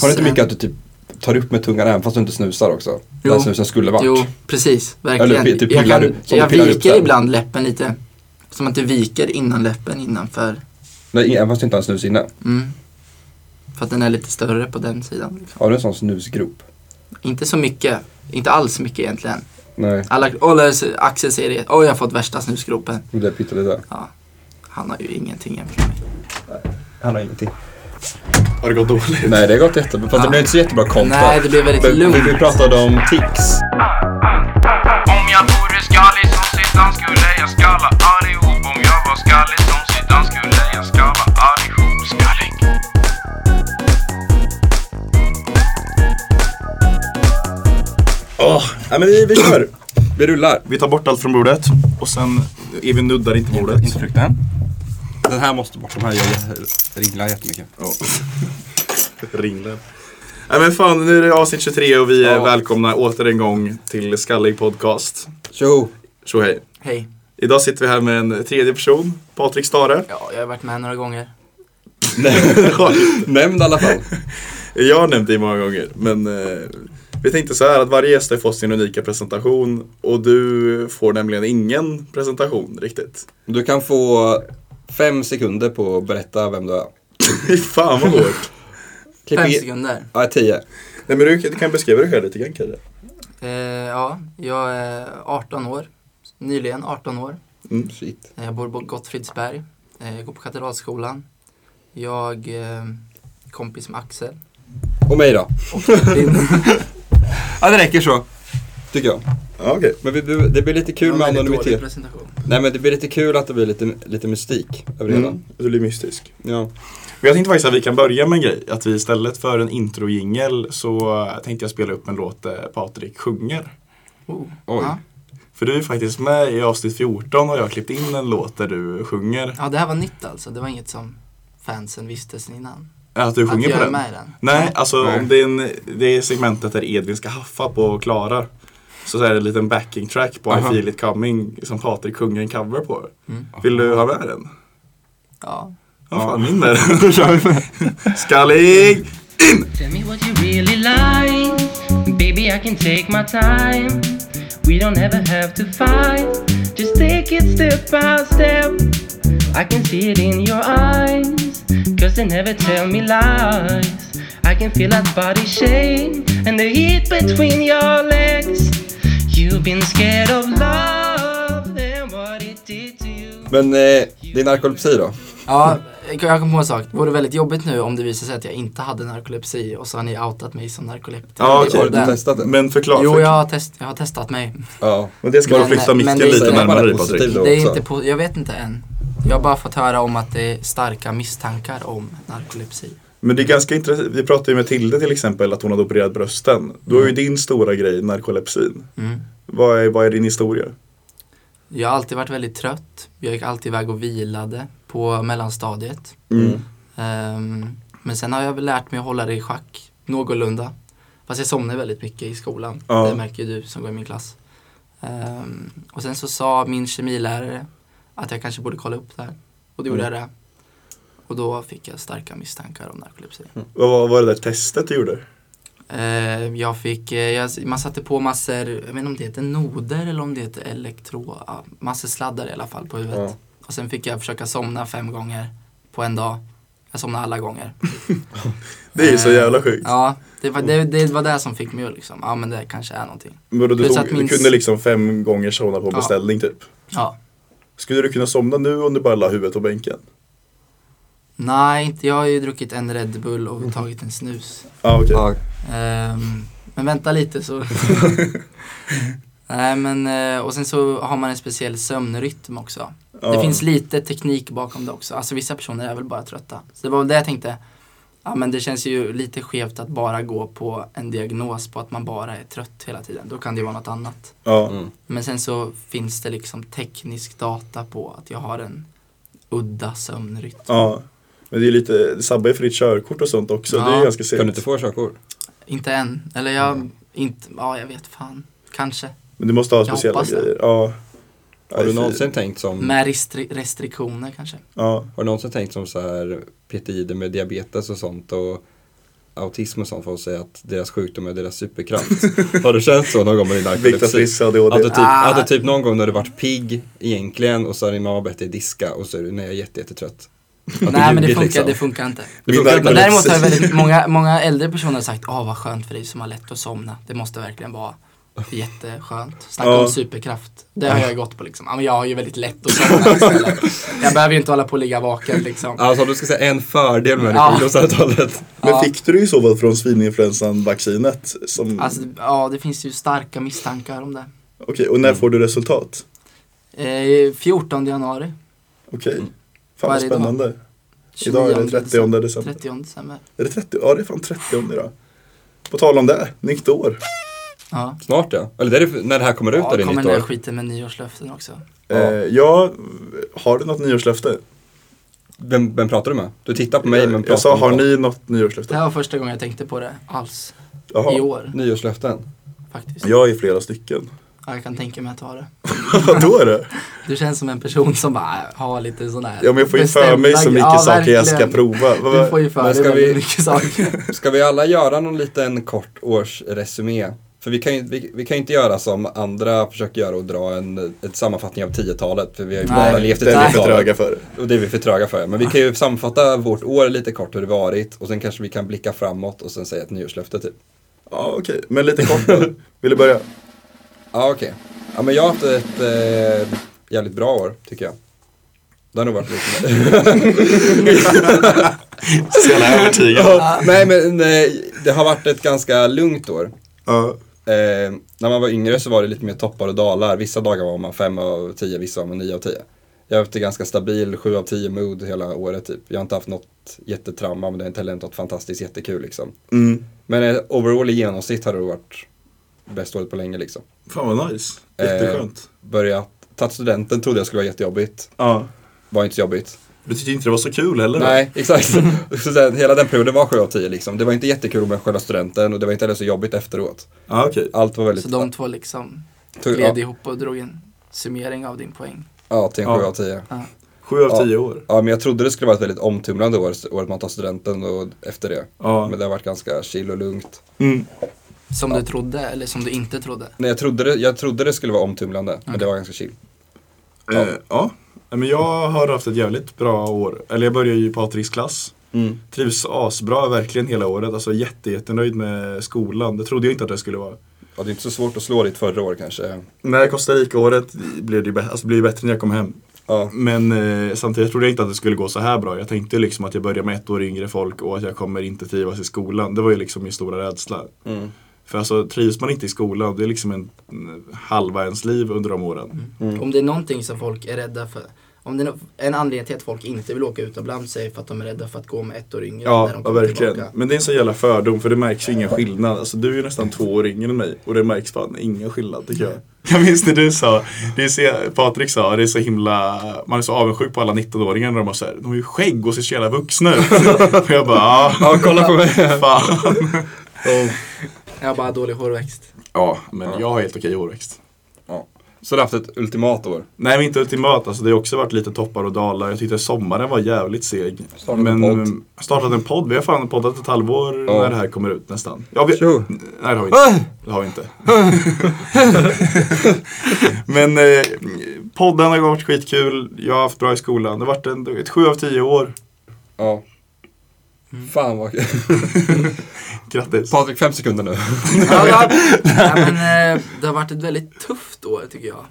Har du inte mycket att du typ tar upp med tungan även fast du inte snusar också? Jo. Där snusen skulle varit. Jo, precis. Eller Verkligen. pi- typ jag pillar kan, du- som du jag pillar upp viker där. ibland läppen lite. Som att du viker innan läppen innanför. Nej, även fast du inte har en snus inne. Mm. För att den är lite större på den sidan. Liksom. Har du en sån snusgrop? Inte så mycket. Inte alls mycket egentligen. Nej, Alla, alla Axel säger det. Åh, jag har fått värsta snusgropen. det är pyttelite. Ja. Han har ju ingenting jämfört med mig. Han har ingenting. Har det gått dåligt? Nej, det har gått jättebra. Fast det Ja. blev inte så jättebra kontra. Nej, det blev väldigt Men lugnt. Vi, vi pratade om tics. Om jag vore skallig som Zidane skulle jag skalla allihop Om jag var skallig som Zidane skulle jag skalla allihop Skallig Åh, nej, men vi, vi kör. Vi rullar. Vi tar bort allt från bordet och sen är vi nuddar inte bordet. Inte frukten. Den här måste bort. De här gör, ringlar jättemycket. Ja. Ringlen. Nej men fan, nu är det avsnitt 23 och vi är Ja. välkomna åter en gång till Skallig Podcast. Tjo! Tjo hej. Hej. Idag sitter vi här med en tredje person, Patrik Stare. Ja, jag har varit med några gånger. Nämnd i alla fall. Jag har nämnt dig många gånger, men eh, vi tänkte så här att varje gäst har fått sin unika presentation och du får nämligen ingen presentation riktigt. Du kan få fem sekunder på att berätta vem du är. Fy fan vad hårt. Klipp Fem i- sekunder. Ja, tio. Nej men du, du kan beskriva dig själv lite grann Kalle. Eh, ja, jag är 18 år. Nyligen 18 år. Shit. Jag bor på Gottfridsberg. Eh, Jag går på Katedralskolan. Jag eh, är kompis med Axel. Och mig då? Din- Ja, det räcker så. Tycker jag. Ja okej. Men vi, vi- det blir lite kul med Ja, väldigt dålig anonymitet. presentation. Nej, men det blir lite kul att det blir lite, lite mystik över det hela. Mm. Du blir mystisk. Ja. Men Jag tänkte faktiskt att vi kan börja med en grej. Att vi istället för en introjingel så tänkte jag spela upp en låt eh, Patrik sjunger. Oh. Oj. Ja. För du är faktiskt med i avsnitt 14 och jag har klippt in en låt där du sjunger. ja, det här var nytt alltså. Det var inget som fansen visste sen innan. Äh, Att du sjunger att jag på är den. med i den. Nej, alltså Nej. Om det, är en, det är segmentet där Edvin ska haffa på Klara. Så, så är det en liten backing track på Aha. I feel it coming som Patrik sjunger en cover på. Mm. Vill du ha med den? Ja. Ja, fan in med den. Då kör vi med. Skallig! Tell me what you really like. Baby, I can take my time. We don't ever have to fight. Just take it step by step. I can see it in your eyes. Cause they never tell me lies. I can feel that body shake and the heat between your legs. You've been scared of love and what it did to you. Men eh, din narkolepsi då? ja, jag kom på en sak. Det vore väldigt jobbigt nu om det visar sig att jag inte hade narkolepsi och så har ni outat mig som narkoleptiker. Ja, Det är okej. Har du den. testat det? Men förklara. Jo, jag har, test, jag har testat mig. Ja. Men det ska du Men- flytta men micken det är- lite Säger man närmare det dig Patrik. positivt då? Det är också. inte på, jag vet inte än. Jag har bara fått höra om att det är starka misstankar om narkolepsi. Men det är ganska intressant. Vi pratade ju med Tilde till exempel att hon hade opererat brösten. Då är ju din stora grej narkolepsin. Mm. Vad är, vad är din historia? Jag har alltid varit väldigt trött. Jag gick alltid iväg och vilade på mellanstadiet. Mm. Ehm, men sen har jag väl lärt mig att hålla det i schack någorlunda. Fast jag somnar väldigt mycket i skolan. Ja. Det märker ju du som går i min klass. Ehm, och sen så sa min kemilärare att jag kanske borde kolla upp det här. Och då gjorde jag det. Och då fick jag starka misstankar om narkolepsi. Vad var, var det där testet du gjorde? Eh, jag fick, eh, jag, man satte på massor, jag vet inte om det heter noder eller om det heter elektro, ja, massor sladdar i alla fall på huvudet. Ja. Och sen fick jag försöka somna fem gånger på en dag. Jag somnade alla gånger. Det är ju så Eh, jävla sjukt. Ja, det var det, det, var det som fick mig att liksom, ja men det kanske är någonting. Men då du, plus tog, att min- du kunde liksom fem gånger somna på Ja. beställning typ. Ja. Skulle du kunna somna nu om du bara la huvudet på bänken? Nej, inte, jag har ju druckit en Red Bull Mm. och tagit en snus. Ja okej. Ja. Ehm, men vänta lite så. Nej men, eh, och sen så har man en speciell sömnrytm också. Det Ja. finns lite teknik bakom det också. Alltså vissa personer är väl bara trötta. Så det var väl det jag tänkte. Ja men det känns ju lite skevt att bara gå på en diagnos på att man bara är trött hela tiden. Då kan det ju vara något annat. Ja. Mm. Men sen så finns det liksom teknisk data på att jag har en udda sömnrytm. ja. Men det är ju lite, det sabbar ju för ditt körkort och sånt också. Ja. Det är ju ganska segt. Kan du inte få körkort? Inte än. Eller jag, inte, ja jag vet fan. Kanske. Men du måste ha Jag speciella hoppas det. grejer. Ja. Har du Aj, fy. någonsin tänkt som, Med restri- restriktioner kanske. Ja. har du någonsin tänkt som så här, peta i det med diabetes och sånt och autism och sånt folk säger att deras sjukdom är deras superkraft. Har du känt så någon gång med din Viktor narkolepsi? Frisk hade ADHD. Att du, typ, Ah. att du typ någon gång när du varit pigg egentligen och så har din mamma bett dig diska och så är du, nej jag är jätte, jättetrött. Att du Nej men det ljugit, funkar, liksom. det funkar inte. Det funkar Min inte. Men verklighet. däremot har väldigt många, många äldre personer sagt, ah vad skönt för dig som har lätt att somna. Det måste verkligen vara jätteskönt. Snacka Ja. om superkraft. Det har jag gått på liksom. Ja, men jag har ju väldigt lätt att somna istället. Jag behöver ju inte hålla på och ligga vaken liksom. Alltså om du ska säga en fördel med Ja. det sjukdomsavtalet. Ja. Men fick du det i så fall från svininfluensan-vaccinet? Som... Alltså, ja det finns ju starka misstankar om det. Okej, och Mm. när får du resultat? Eh, 14 januari. Okej. Mm. Fan Vad vad är det idag? spännande. Idag är det 30 december. 30 december. Är det 30? Ja, det är fan 30 idag. På tal om det, nytt år. Ja. Snart ja. Eller det är det, när det här kommer ut Ja, då det är kommer nytt den här år. skiten med nyårslöften också. Ja. Eh, ja, har du något nyårslöfte? Vem, vem pratar du med? Du tittar på mig men Jag, pratar jag sa, med har folk. ni något Det nyårslöfte? här var första gången jag tänkte på det alls. Jaha. I år Nyårslöften. faktiskt. Jag är flera stycken. Ja, jag kan tänka mig att ha det. Vadå det? Du känns som en person som bara har lite sån här Ja, men jag får ju för bestämda- mig så mycket Ja, saker jag ska verkligen. prova. Vad- Du får ju för Men dig ska väldigt vi- mycket saker. Ska vi alla göra någon liten kort årsresumé? För vi kan ju vi, vi kan ju inte göra som andra försöker göra och dra en ett sammanfattning av 10-talet. För vi har ju Nej, bara levt i Det är vi för 10-talet. tröga för. Och det är vi för tröga för. Men vi kan ju sammanfatta vårt år lite kort hur det varit. Och sen kanske vi kan blicka framåt och sen säga ett nyårslöfte typ. Ja, okej. Men lite kort då. Vill du börja? Ja okej. Ja men jag har haft ett eh, jävligt bra år tycker jag. Det har nog varit lite Så jävla övertygad. Nej men nej, det har varit ett ganska lugnt år. Ja. Eh, när man var yngre så var det lite mer toppar och dalar. Vissa dagar var man 5 av 10, vissa var man 9 av 10. Jag har haft ett ganska stabil 7 av 10 mood hela året typ. Jag har inte haft något jättetrauma men det har inte heller något fantastiskt jättekul liksom. Mm. Men eh, overall i genomsnitt har det varit bästa året på länge liksom. Fan vad nice. Jätteskönt. Börjat, tagit studenten trodde jag skulle vara jättejobbigt. Ja. Var inte så jobbigt. Du tyckte inte det var så kul heller? va? Nej, exakt. så den, hela den perioden var 7 av 10 liksom. Det var inte jättekul med själva studenten och det var inte heller så jobbigt efteråt. Ja, okej. Allt var väldigt... Så de två liksom tog- gled ja, ihop och drog en summering av din poäng. ja, till en 7 Ja. av 10. Sju av Ja. tio år. Ja, men jag trodde det skulle vara ett väldigt omtumlande år, året man tar studenten och efter det. Ja. Men det har varit ganska chill och lugnt. Mm. Som du trodde eller som du inte trodde. Nej, jag trodde det, jag trodde det skulle vara omtumlande, men det var ganska chill. Ja. Eh, ja. Nej, Men jag har haft ett jävligt bra år. Eller jag började ju i Patriks klass. Mm. Trivs asbra verkligen hela året. Alltså jätte, jättenöjd med skolan. Det trodde jag inte att det skulle vara. Ja, det är inte så svårt att slå ditt förra år kanske. Nej, Costa Rica-året blev det ju bä- alltså, blev ju bättre när jag kom hem. Ja, Men eh, samtidigt trodde jag inte att det skulle gå så här bra. Jag tänkte ju liksom att jag börjar med ett år yngre folk och att jag kommer inte trivas i skolan. Det var ju liksom min stora rädsla. mm. För alltså trivs man inte i skolan, det är liksom en, en halva ens liv under de åren. Mm. Om det är någonting som folk är rädda för. Om det är no- en anledning till att folk inte vill åka utomlands är för att de är rädda för att gå med ett år yngre Ja, när de ja, kommer verkligen. tillbaka. Men det är en sån jävla fördom för det märks ju ingen skillnad. Alltså du är ju nästan två år yngre än mig och det märks fan ingen skillnad tycker jag. Jag minns när du sa, det är så, Patrik sa, det är så himla, man är så avundsjuk på alla 19-åringar när de har så här, de har ju skägg och ser så jävla vuxna ut. och jag bara, ja, ja kolla på mig. fan. Jag har bara dålig hårväxt. Ja, men jag har helt okej hårväxt. Ja. Så du har haft ett ultimat år. Nej men inte ultimat, alltså det har också varit lite toppar och dalar. Jag tyckte sommaren var jävligt seg. Startat men, mm, en podd. Startat en podd, vi har fan poddat ett halvår Ja. när det här kommer ut nästan. Ja, vi, Tjo. Nej det har vi Äh! inte. Det har vi inte. Men eh, podden har varit skitkul, jag har haft bra i skolan. Det har varit en, ett 7 av 10 år. Ja. Fan vad kul. Grattis. Mm. Patrik, fem sekunder nu. Ja, ja. Nej, men, eh, det har varit ett väldigt tufft år tycker jag.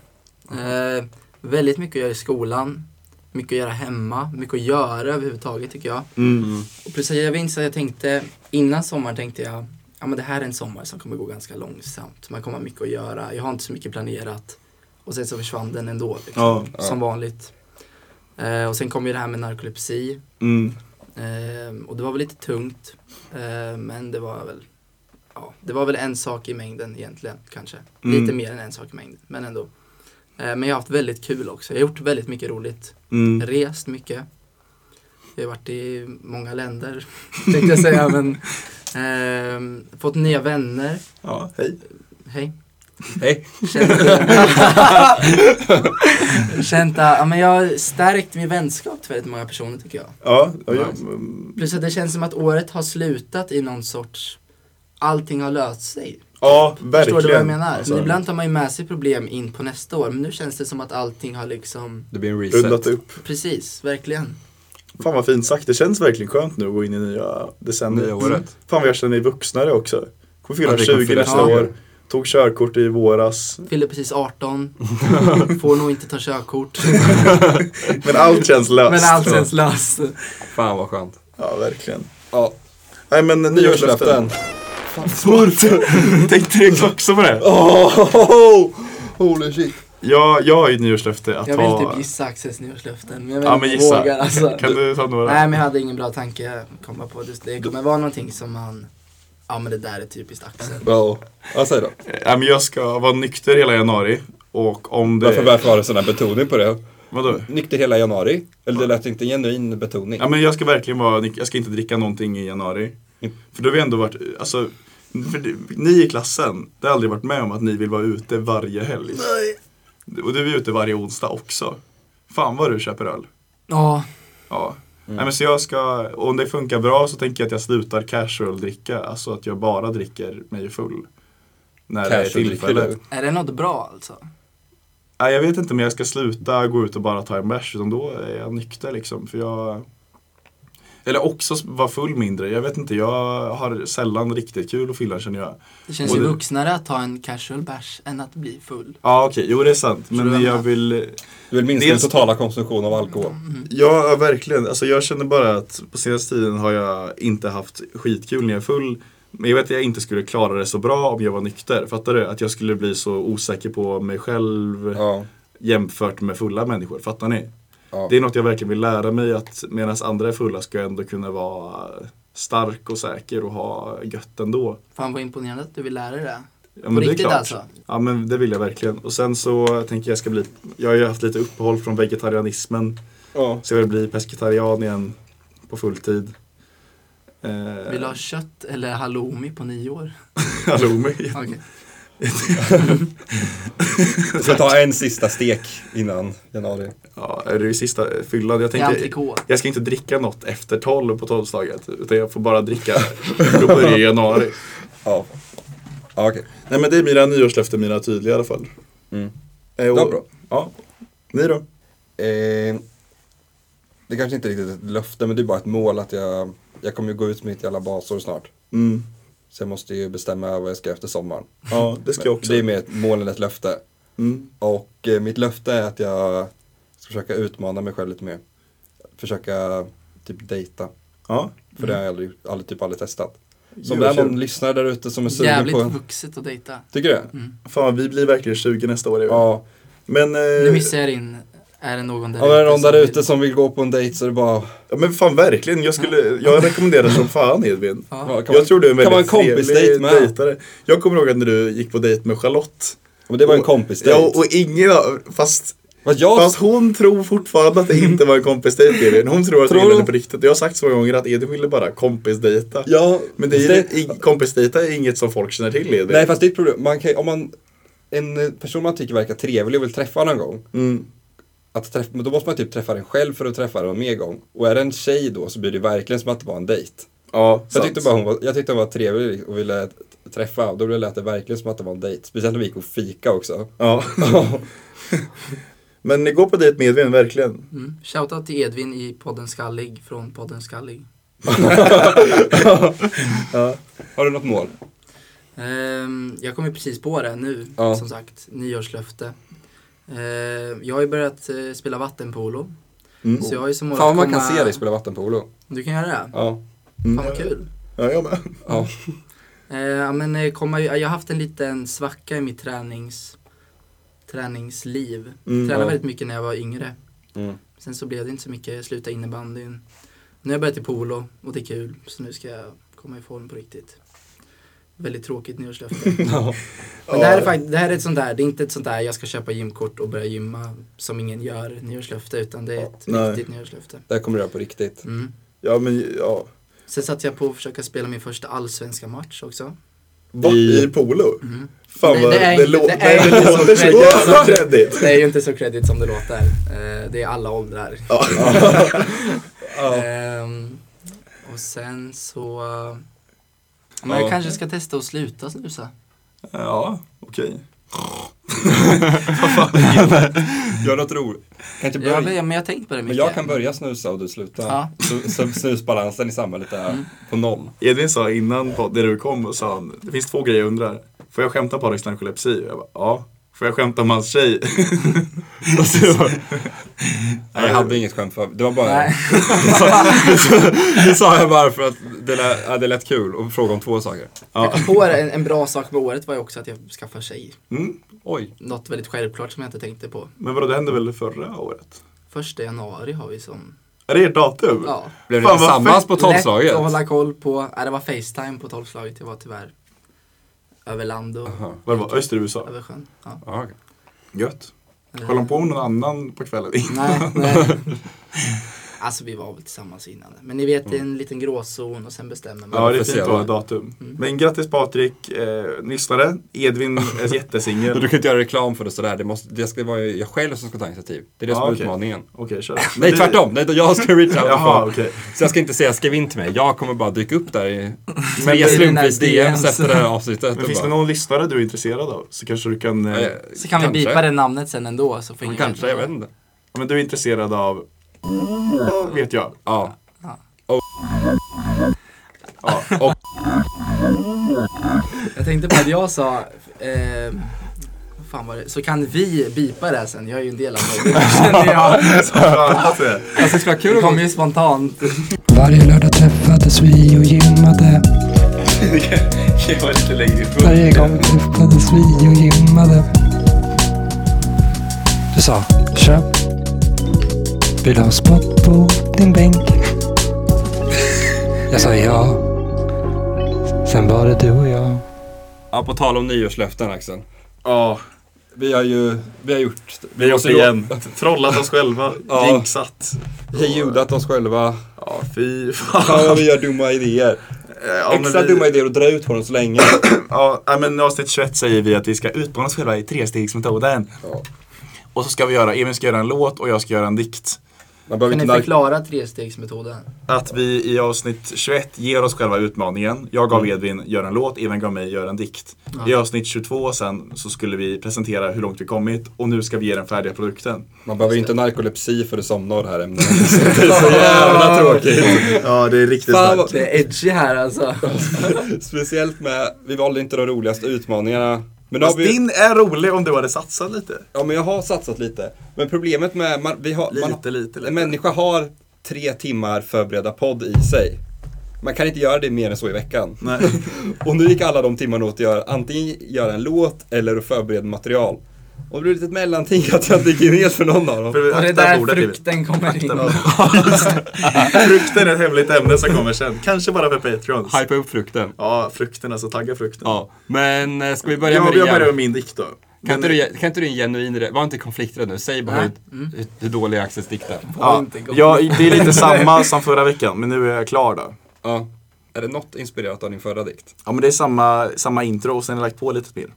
Eh, väldigt mycket att göra i skolan, mycket att göra hemma, mycket att göra överhuvudtaget tycker jag. Mm. Och precis, jag minns att jag tänkte, innan sommaren tänkte jag, ja men det här är en sommar som kommer gå ganska långsamt. Man kommer ha mycket att göra, jag har inte så mycket planerat. Och sen så försvann den ändå, liksom, Ja. som vanligt. Eh, och sen kom ju det här med narkolepsi. Mm. Ehm, och det var väl lite tungt. Ehm, men det var väl ja, det var väl en sak i mängden egentligen kanske. Mm. Lite mer än en sak i mängden, men ändå. Ehm, men jag har haft väldigt kul också. Jag har gjort väldigt mycket roligt. Mm. Rest mycket. Jag har varit i många länder, tänkte jag säga. Men, ehm, fått nya vänner. Ja, hej. Hej. Hej. Känt- Känt att, ja, men jag har stärkt min vänskap till väldigt många personer tycker jag. Ja, ja, ja. Plus att det känns som att året har slutat i någon sorts, allting har löst sig. ja verkligen. Förstår du vad jag menar? Alltså, Men ibland tar man ju med sig problem in på nästa år, men nu känns det som att allting har liksom, Det blir en Rundat reset. upp. precis, verkligen. Fan vad fint sagt. Det känns verkligen skönt nu att gå in i nya decennier. Nya året. Fan vad jag känner mig vuxnare också. Kommer fylla Ja, det kommer 20 fylla nästa 20. år. Tog körkort i våras. Fyller precis 18, får nog inte ta körkort. Men allt känns löst. men allt känns löst. Fan vad skönt. Ja, verkligen. Ja, Nej men nyårslöften. nyårslöften. Smurf! Tänkte du också på det? Oh, holy shit. Jag, jag har ju ett nyårslöfte att Jag ta... vill typ gissa Axels nyårslöften, men jag vet Ja men inte gissa. vågar alltså. Kan du ta några? Nej men jag hade ingen bra tanke att komma på just det. Det kommer vara någonting som man, ja men det där är typiskt Axel. Ja, ja, säg då. Nej, men jag ska vara nykter hela januari. Och om det... Varför, varför har du sån här betoning på det? Vadå? Nykter hela januari? Eller det lät inte en genuin betoning. Ja men jag ska verkligen vara, jag ska inte dricka någonting i januari. Mm. För då har vi ändå varit, alltså, för det- ni i klassen, det har aldrig varit med om att ni vill vara ute varje helg. Och du är ute varje onsdag också. Fan vad du köper öl. Ja, Ja. Mm. Nej, men så jag ska, och om det funkar bra så tänker jag att jag slutar casual dricka, alltså att jag bara dricker mig full. När det är Casual dricker tillfälle. du. är det något bra alltså? Nej, jag vet inte men jag ska sluta gå ut och bara ta en bärs utan då är jag nykter liksom för jag Eller också vara full mindre, jag vet inte, jag har sällan riktigt kul och fyllan känner jag Det känns Och ju det- vuxnare att ta en casual bash än att bli full. Ja okej, jo det är sant Tror men du Mm. jag det? vill Du vill minska din Dels- Mm. totala konsumtion av alkohol. Ja verkligen, alltså jag känner bara att på senaste tiden har jag inte haft skitkul när jag är full men jag vet att jag inte skulle klara det så bra om jag var nykter, fattar du? Att jag skulle bli så osäker på mig själv Ja. jämfört med fulla människor, fattar ni? Ja. Det är något jag verkligen vill lära mig att medan andra är fulla ska jag ändå kunna vara stark och säker och ha gött ändå. Fan vad imponerande att du vill lära dig det. Ja, På men det är riktigt klart. alltså? Ja men det vill jag verkligen. Och sen så tänker jag ska bli, jag har ju haft lite uppehåll från vegetarianismen Ja. så jag vill bli pescetarian igen på fulltid. Eh, Vill du ha kött eller halloumi på nio år? halloumi? Okej. Du ska ta en sista stek innan januari. Ja, är det ju sista fyllan. Jag Det är tänker, entrecote. jag ska inte dricka något efter 12 på tolvslaget utan jag får bara dricka, då börjar jag i januari. Ja. Ja, okej. Nej men det är mina nyårslöften, mina tydliga i alla fall. Mm. Eh, och- Det var bra. Ja. Ni då? Eh, det kanske inte är riktigt ett löfte, men det är bara ett mål att jag, jag kommer ju gå ut med mitt jävla basår snart. Mm. Så jag måste ju bestämma vad jag ska göra efter sommaren. Ja, det ska jag också. Det är mer ett mål än ett löfte. Mm. Och eh, mitt löfte är att jag ska försöka utmana mig själv lite mer. Försöka typ dejta. Ja. För det har jag aldrig, aldrig, typ aldrig testat. Så om det Gud, vad är Mm. kul. någon lyssnare där ute som är sugen Jävligt på en. vuxet att dejta. Tycker du det? Fan, vi blir verkligen 20 nästa år. Ja. Ja. Men, eh, Nu missar jag in, är det någon där Om det är någon som där vill- ute som vill gå på en dejt så är det bara... ja, men fan verkligen. Jag, skulle, jag rekommenderar som fan Edvin. Ja, kan man, Jag tror du är en Kan vara en väldigt kompisdejt trevlig med. dejtare. Jag kommer ihåg att när du gick på dejt med Charlotte. Men det var en Och- kompisdejt. Ja, och ingen av- fast, Fast jag... fast hon tror fortfarande att det inte var en kompisdejt Edvin. Hon tror att Tror du gillade hon? på riktigt. Jag har sagt så många gånger att Edvin ville bara kompisdejta. ja, Men det är, det... I, kompisdejta är inget som folk känner till Edvin. Nej fast det är ett problem. Man kan, om man... En eh, person man tycker verkar trevlig och vill träffa någon gång. Mm. Att träff, men då måste man typ träffa den själv för att träffa den mer gång. Och är det en tjej då så blir det verkligen som att det var en dejt. Ja, Jag sant. tyckte, bara hon var, jag tyckte hon var trevlig och ville t- träffa. Då lät det verkligen som att det var en dejt. Speciellt när vi gick och fika också. Ja. Men ni går på dejt med Edvin, verkligen. Mm. Shoutout till Edvin i podden Skallig från podden Skallig. Har du något mål? Ehm, jag kom ju precis på det nu, Ja. som sagt. Nyårslöfte. Ehm, jag har ju börjat eh, spela vattenpolo. Mm. Så jag har ju som mål Fan vad att man kan komma- se dig spela vattenpolo. Du kan göra det? Ja. Fan vad kul. Mm. Ja, jag med. ja. Eh, ja, men, eh, komma, jag har haft en liten svacka i mitt tränings, träningsliv. Mm, Tränade ja. väldigt mycket när jag var yngre. Mm. Sen så blev det inte så mycket, jag slutade innebandyn. Nu har jag börjat i polo och det är kul. Så nu ska jag komma i form på riktigt. Väldigt tråkigt nyårslöfte. ja. Men det här är faktiskt, det här är ett sånt där, det är inte ett sånt där jag ska köpa gymkort och börja gymma som ingen gör nyårslöfte utan det är ett Nej. riktigt nyårslöfte. Det här kommer du göra på riktigt. Mm. Ja, men ja. Sen satt jag på att försöka spela min första allsvenska match också. Mm. Va? I- I, polo? Fan Nej, vad det är det inte- lå- det är nej, inte det så låter så creddigt. jävla kreddigt. Det är ju inte så kreddigt som det låter. Eh, det är alla åldrar. Ehm, och sen så... Men jag Ja. kanske ska testa att sluta snusa. Ja, okej. Gör något roligt. Kanske Ja, börja. men jag men jag har tänkt på det mycket. men jag kan börja snusa och du slutar. Ja. Så, så snusbalansen i samhället är på noll. Edvin sa innan på, när du kom och sa han, det finns två grejer jag undrar. Får jag skämta om Patriks narkolepsi? Jag bara, ja. Får jag skämta om hans tjej? Och så bara, Nej, jag hade inget skämt för Det var bara... Nej. Det sa jag bara för att det lät, ja, det lät kul och fråga om två saker. Jag kom på en, en bra sak med året var ju också att jag skaffade tjej. mm. Oj. Något väldigt självklart som jag inte tänkte på. Men vadå, det hände väl förra året? Första januari har vi som... Är det ert datum? Ja. Blev ni Fan, vad tillsammans på Lätt tolvslaget? att hålla koll på. Nej, det var Facetime på tolvslaget. Jag var tyvärr över land och Jaha. Vad det var, öster i USA? över sjön. Ja. Ja, okej. Gött. Höll han på med någon annan på kvällen? Nej, nej. Alltså vi var väl tillsammans innan. Men ni vet det är Mm. en liten gråzon och sen bestämmer man. Ja, det är Får se fint att ha vad- ett datum. Men grattis Patrik, eh, lyssnare. Edvin är Men jättesingel. Du kan inte göra reklam för det sådär. Det, måste, det ska vara jag själv som ska ta initiativ. Det är det Ja, som är okej. utmaningen. Okej, kör. Nej, Men det- tvärtom. Nej, jag ska reach out till Jaha, folk. okej. Så jag ska inte säga skriv in till mig. Jag kommer bara dyka upp där i det tre är slumpvis den här DMs efter det här avsnittet. Men och finns det bara, någon lyssnare du är intresserad av? Så kanske du kan... Eh, eh, Så kan vi kanske. bipa det namnet sen ändå. Så får Men ingen Kanske, jag vet inte. men du är intresserad av... Vet jag. Ja. Jag tänkte på att jag sa, eh, vad fan var det? så kan vi bipa det här sen, jag är ju en del av det. Det känner jag. Alltså, det skulle vara kul Det om kom ju spontant. Varje lördag träffades vi och gymmade. Varje gång träffades vi och gymmade. Du sa, tja. Vill du ha spott på din bänk? Jag sa ja. Sen var det du och jag. Ja, på tal om nyårslöften Axel. Ja, Vi har ju, vi har gjort, vi har gjort det igen. Trollat oss själva. Ja. Jinxat. hejudat oss själva. Ja, fy fan. Ja, vi gör dumma idéer. Ja, men Extra vi- dumma idéer och dra ut på dem så länge. Ja, nej, men i avsnitt 21 säger vi att vi ska utmana oss själva i trestegsmetoden. Ja. Och så ska vi göra, Emil ska göra en låt och jag ska göra en dikt. Man behöver Kan ni inte nark- förklara trestegsmetoden? Att vi i avsnitt 21 ger oss själva utmaningen. Jag gav Edvin, gör en låt, Edvin gav mig, gör en dikt. I avsnitt 22 sen så skulle vi presentera hur långt vi kommit och nu ska vi ge den färdiga produkten. Man behöver inte narkolepsi för att somna av det här ämnet. Det är så jävla tråkigt. Ja, det är riktigt Fan, starkt. Det är edgy här alltså. Speciellt med, vi valde inte de roligaste utmaningarna. Men, då har Fast vi, din är rolig om du hade satsat lite. ja, men jag har satsat lite. Men problemet med, man, vi har, man, Lite, lite, lite. en människa har tre timmar förberedda podd i sig. Man kan inte göra det mer än så i veckan. Nej. Och nu gick alla de timmarna åt att göra, antingen göra en låt eller att förbereda material. Och det blev ett litet mellanting att jag inte gick in helt för någon av dem. För vi Och det är aktar där bordet, Edvin. frukten kommer in. Frukten är ett hemligt ämne som kommer sen. Kanske bara för Patreons. Hypa upp frukten. Ja, frukten alltså. Tagga frukten. Ja, men eh, ska vi börja Jag, med jag det börjar med igen? min dikt då. Kan inte, du, kan inte du en genuin, re- var inte konflikträdd nu, säg bara hur, hur, hur dålig Axels dikt är. Ja, inte gott. ja, det är lite samma som förra veckan, men nu är jag klar då. Ja. Är det något inspirerat av din förra dikt? Ja, men det är samma, samma intro och sen har jag lagt på lite mer.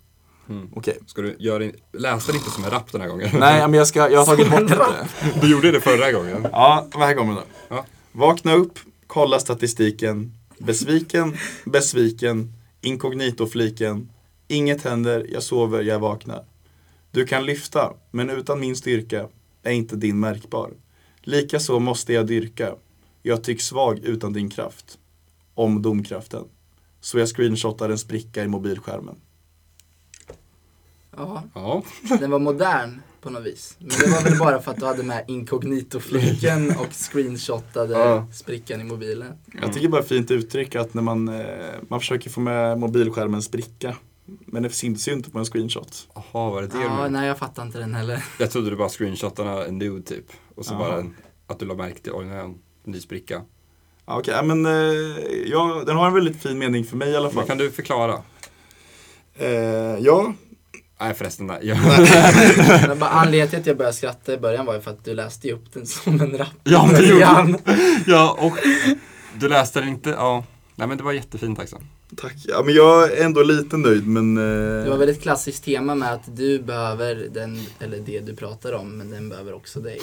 Okej. Ska du göra din, läsa det inte som en rap den här gången? Nej, men jag, ska, jag har tagit bort lite. Du gjorde det förra gången. Ja, men här kommer den då. Ja. Vakna upp, kolla statistiken. Besviken, besviken, inkognitofliken. Inget händer, jag sover, jag vaknar. Du kan lyfta, men utan min styrka är inte din märkbar. Likaså måste jag dyrka. Jag tycks svag utan din kraft. Om domkraften. Så jag screenshotar en spricka i mobilskärmen. Ja, Ja. den var modern på något vis. Men det var väl bara för att du hade med inkognito-fliken och screenshotade Ja. sprickan i mobilen. Jag tycker bara fint uttryck att när man, eh, man försöker få med mobilskärmen spricka. Men det syns ju inte på en screenshot. Jaha, var det det du Ja, menade? nej jag fattar inte den heller. Jag trodde du bara screenshotarna en nude typ. Och så Ja. bara en, att du la märke till, oj, nu är en ny spricka. Ja, okej, ja, men eh, ja, den har en väldigt fin mening för mig i alla fall. Men kan du förklara? eh, ja, Nej förresten, nej. Jag, Men bara anledningen till att jag började skratta i början var ju för att du läste ju upp den som en rap. Ja, men det gjorde Början. ja, och du läste den inte, ja. Nej men det var jättefint Axel. Tack. Ja, men jag är ändå lite nöjd men... eh, Det var väldigt klassiskt tema med att du behöver den, eller det du pratar om, men den behöver också dig.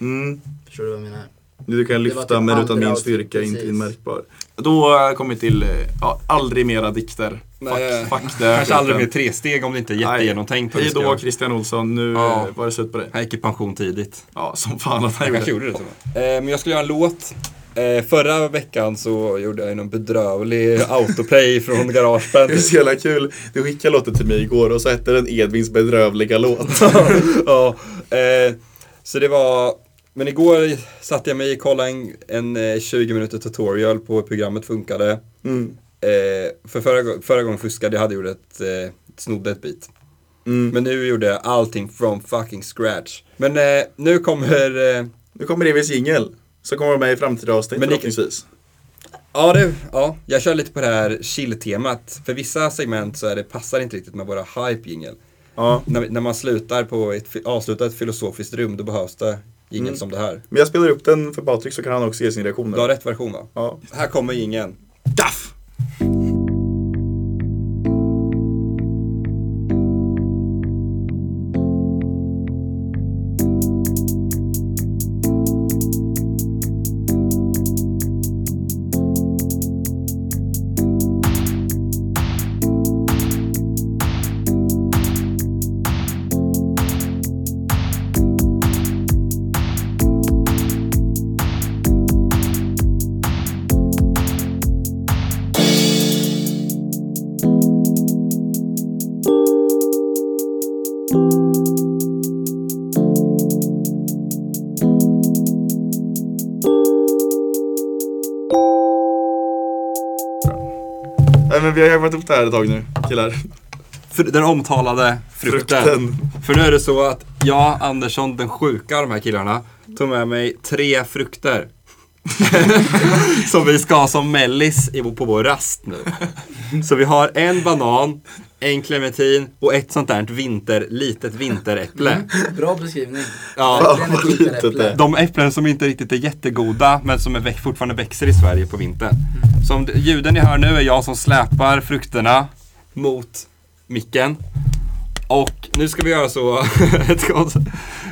mm, Förstår du vad jag menar? du kan Det var lyfta typ men utan min andra styrka är avsnitt, inte precis. inmärkbar. Då eh, kommer vi till, eh, ja, aldrig mera dikter. Nej. Fuck, fuck det. Kanske aldrig mer tre steg om det inte är jättegenomtänkt. Hej då Han Christian Olsson, nu Ja. eh, var det slut på dig. gick i pension tidigt. Ja, som fan att han Jag kanske gjorde. gjorde det. Till och med. eh, men jag skulle göra en låt. Eh, förra veckan så gjorde jag ju någon bedrövlig autoplay från Garageband. Det är så jävla kul. Du skickade låten till mig igår och så hette den Edvins bedrövliga låt. ja, eh, så det var... Men igår satte jag mig och kollade en, en eh, 20 minuter tutorial på hur programmet funkade. Mm. Eh, för förra, gång- förra gången fuskade jag hade gjort ett, eh, snodde ett bit. Mm. Men nu gjorde jag allting from fucking scratch. Men eh, nu kommer... Eh, Nu kommer Evins jingel. Så kommer de med i framtida Men avsnitt det- förhoppningsvis. Ja, det, ja, jag kör lite på det här chill-temat. För vissa segment så är det, passar det inte riktigt med våra hype jingle. Ja. När, när man slutar på ett, fi- avslutar ett filosofiskt rum, då behövs det jingle Mm. som det här. Men jag spelar upp den för Patrik så kan han också ge sin reaktion. Du har rätt version va? Ja. Här kommer ingen. Daff! Nej men vi har jobbat upp det här ett tag nu killar. För den omtalade frukten. Frukten. För nu är det så att jag, Andersson, den sjuka, de här killarna, tog med mig tre frukter. som vi ska ha som mellis i- på vår rast nu. Så vi har en banan, en clementin och ett sånt där vinter, litet vinteräpple. Bra beskrivning. Ja, Den är vad skitäpple. litet det är. de äpplen som inte riktigt är jättegoda men som är väck, fortfarande växer i Sverige på vintern. Så om det- ljuden ni hör nu är jag som släpar frukterna mot micken. Och nu ska vi göra så. ett gott-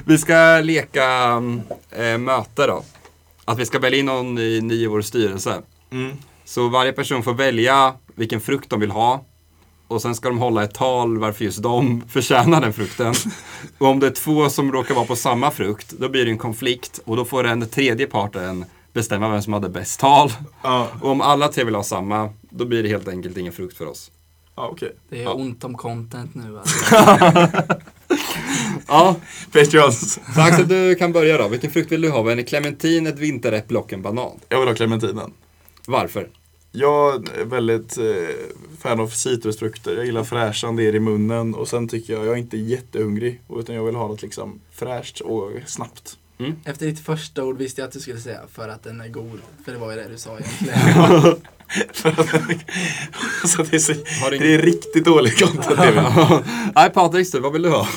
vi ska leka mm, eh, möte då. Att vi ska välja in någon i, ny i vår styrelse. Så varje person får välja vilken frukt de vill ha. Och sen ska de hålla ett tal varför just de förtjänar den frukten. Och om det är två som råkar vara på samma frukt, då blir det en konflikt. Och då får den tredje parten bestämma vem som hade bäst tal. Ja, Och om alla tre vill ha samma, då blir det helt enkelt ingen frukt för oss. ja okej. Det är ont om content nu alltså. Ja, Patreons. så Axel du kan börja då. Vilken frukt vill du ha? En clementin, ett vinteräpple och en banan. Jag vill ha clementinen. Varför? Jag är väldigt eh, fan av citrusfrukter. Jag gillar fräschan det är i munnen och sen tycker jag, jag är inte jättehungrig utan jag vill ha något liksom fräscht och snabbt. Efter ditt första ord visste jag att du skulle säga för att den är god. För det var ju det du sa egentligen. så det, är så, Har du det är riktigt dålig content det vi- Nej Patrik, du, vad vill du ha?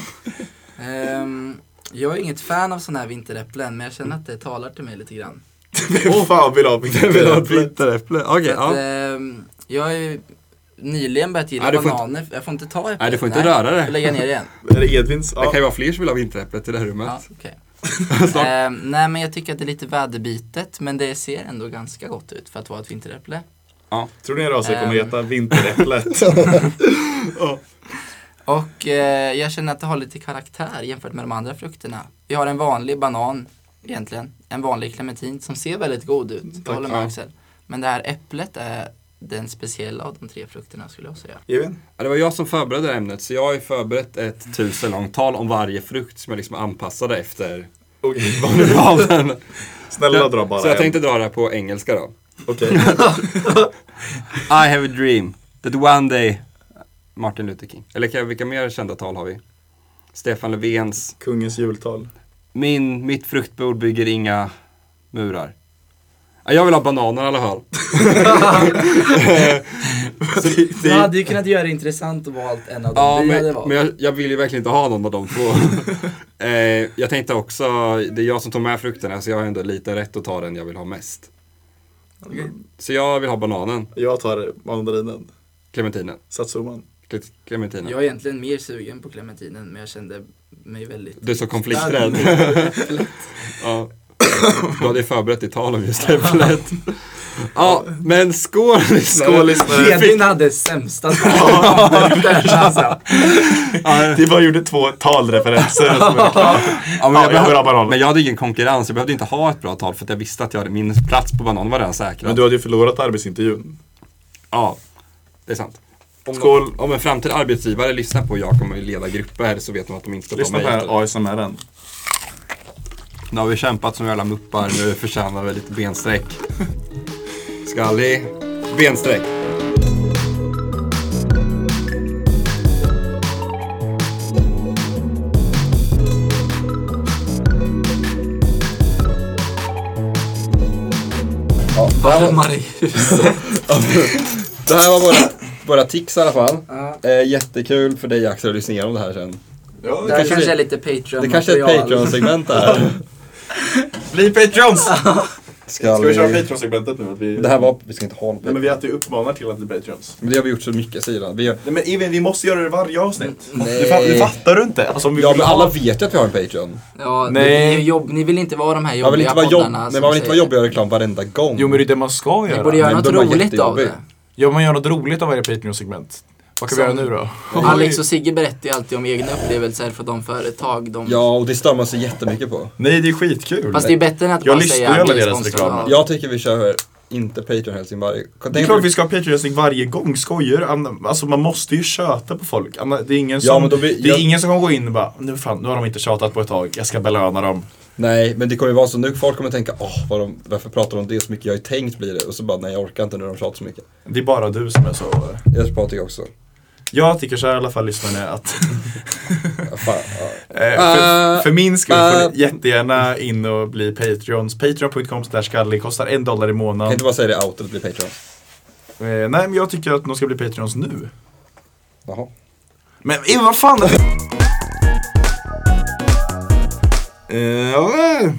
Ehm, jag är inget fan av sådana här vinteräpplen men jag känner att det talar till mig lite grann. Vem fan vill ha min Vill du ha ett äpple? vinteräpple? Okej, Så att, ja. ehm, jag har ju nyligen börjat gilla Nej, du får bananer. Jag får inte ta äpplen. Nej, du får inte röra det. Jag får lägga ner igen. Är det Edvins? Det Ja. kan ju vara fler som vill ha vinteräpplet i det här rummet. Ja, okej. Ehm, nej men jag tycker att det är lite väderbitet men det ser ändå ganska gott ut för att vara ett vinteräpple. Tror ni att jag kommer Eh. Ehm. heta Vinteräpplet? Och eh, jag känner att det har lite karaktär jämfört med de andra frukterna. Vi har en vanlig banan egentligen, en vanlig clementin som ser väldigt god ut, jag håller med ja. Axel. Men det här äpplet är den speciella av de tre frukterna skulle jag säga. Edvin? Ja, det var jag som förberedde det här ämnet, så jag har ju förberett ett tusen långt tal om varje frukt som jag liksom anpassade efter Okej. vad du valde. den. Snälla dra bara Så jag en. tänkte dra det här på engelska då. Okej. I have a dream that one day Martin Luther King. Eller kan- vilka mer kända tal har vi? Stefan Löfvens. Kungens jultal. Min, mitt fruktbord bygger inga murar. Ja, Jag vill ha bananer i alla fall. Du hade ju kunnat göra det intressant och valt en av dem Ja, vi hade men, valt. men jag, jag vill ju verkligen inte ha någon av de två. eh, jag tänkte också, det är jag som tog med frukterna så jag har ändå lite rätt att ta den jag vill ha mest. Så jag vill ha bananen, Jag tar mandarinen. clementinen. Satsuman. Cle- Clementinen. Jag är egentligen mer sugen på clementinen men jag kände mig väldigt... Du är så konflikträdd. ja. Du hade ju förberett ditt tal om just det. förlåt. Ja, men skål lyssnare. Skål, lyssnare. Vi fick- Edvin hade sämsta smaken alltså. Vi bara gjorde två talreferenser. och så var det klart. Ja, men, Ja, jag jag vill ha behövde, banan. men jag hade ingen konkurrens, jag behövde inte ha ett bra tal för att jag visste att jag hade min plats på banan var redan säkrad. Men du hade ju förlorat arbetsintervjun. Ja, det är sant. Om, Skål. om en framtida arbetsgivare lyssnar på jag kommer ju leda grupper så vet de att de inte ska ta Lyssna mig. på den här ASMR'n. Nu har vi kämpat som jävla muppar, nu förtjänar vi lite bensträck. Skallig, bensträck. Armar i huset. Det här var våra, våra tics i alla fall. Eh, jättekul för dig Axel att lyssna igenom det här sen. Det här kanske- kanske är lite Patreon Det kanske är ett Patreon-segment det här. Bli Patrons! Ska vi köra Skallig. Patreon-segmentet nu? Att vi... Det här var, vi ska inte hålla på Nej men det. vi att vi uppmanar till att bli Patrons. Men det har vi gjort så mycket sidan. Vi, Nej men Evin, vi måste göra det varje avsnitt. Mm. Nej. Du, fa- du fattar du inte? Alltså, om vi ja, vill men ha- alla vet ju att vi har en Patreon. Ja, Nej. det är ju jobb, ni vill inte vara de här Man vill jobbiga inte vara, jobb, poddarna nej, som man vill inte vara säger- jobbig och göra reklam varenda gång. Jo men det är det man ska Ni göra. borde göra Men något de var roligt av jättejobbiga. det. Ja man gör något roligt av varje Patreon-segment. Vad kan vi Som- göra nu då? Alex och Sigge berättar ju alltid om egna upplevelser för de företag de... Ja, och det stör man sig jättemycket på. Nej det är skitkul. Fast det är bättre än att Jag bara lyssnar säga ju alla vi är deras sponsrade reklam. av- Jag tycker vi kör inte Patreon Helsingborg. Det är klart vi ska ha Patreon-snick varje gång, skojar du? Anna- Alltså man måste ju tjata på folk. Anna- Det är ingen Ja, som, men då blir- det är jag- ingen som kommer gå in och bara nu fan, nu har de inte tjatat på ett tag, jag ska belöna dem. Nej, men det kommer ju vara så nu. Folk kommer tänka, åh, vad de, varför pratar de om det så mycket? Jag har ju tänkt bli det. Och så bara, nej jag orkar inte när de pratar så mycket. Det är bara du som är så. Jag pratar ju också. Jag tycker så här i alla fall lyssnarna att Ja, Fan, ja. eh, för, Äh, för min skull får äh. ni jättegärna in och bli Patreons. Patreon.com där skallig kostar en dollar i Kan månaden. inte bara säga det out och bli Patreon. Eh, nej men jag tycker att de ska bli Patreons nu. Jaha. Men eh, vad fan! Eh, ja. Ja.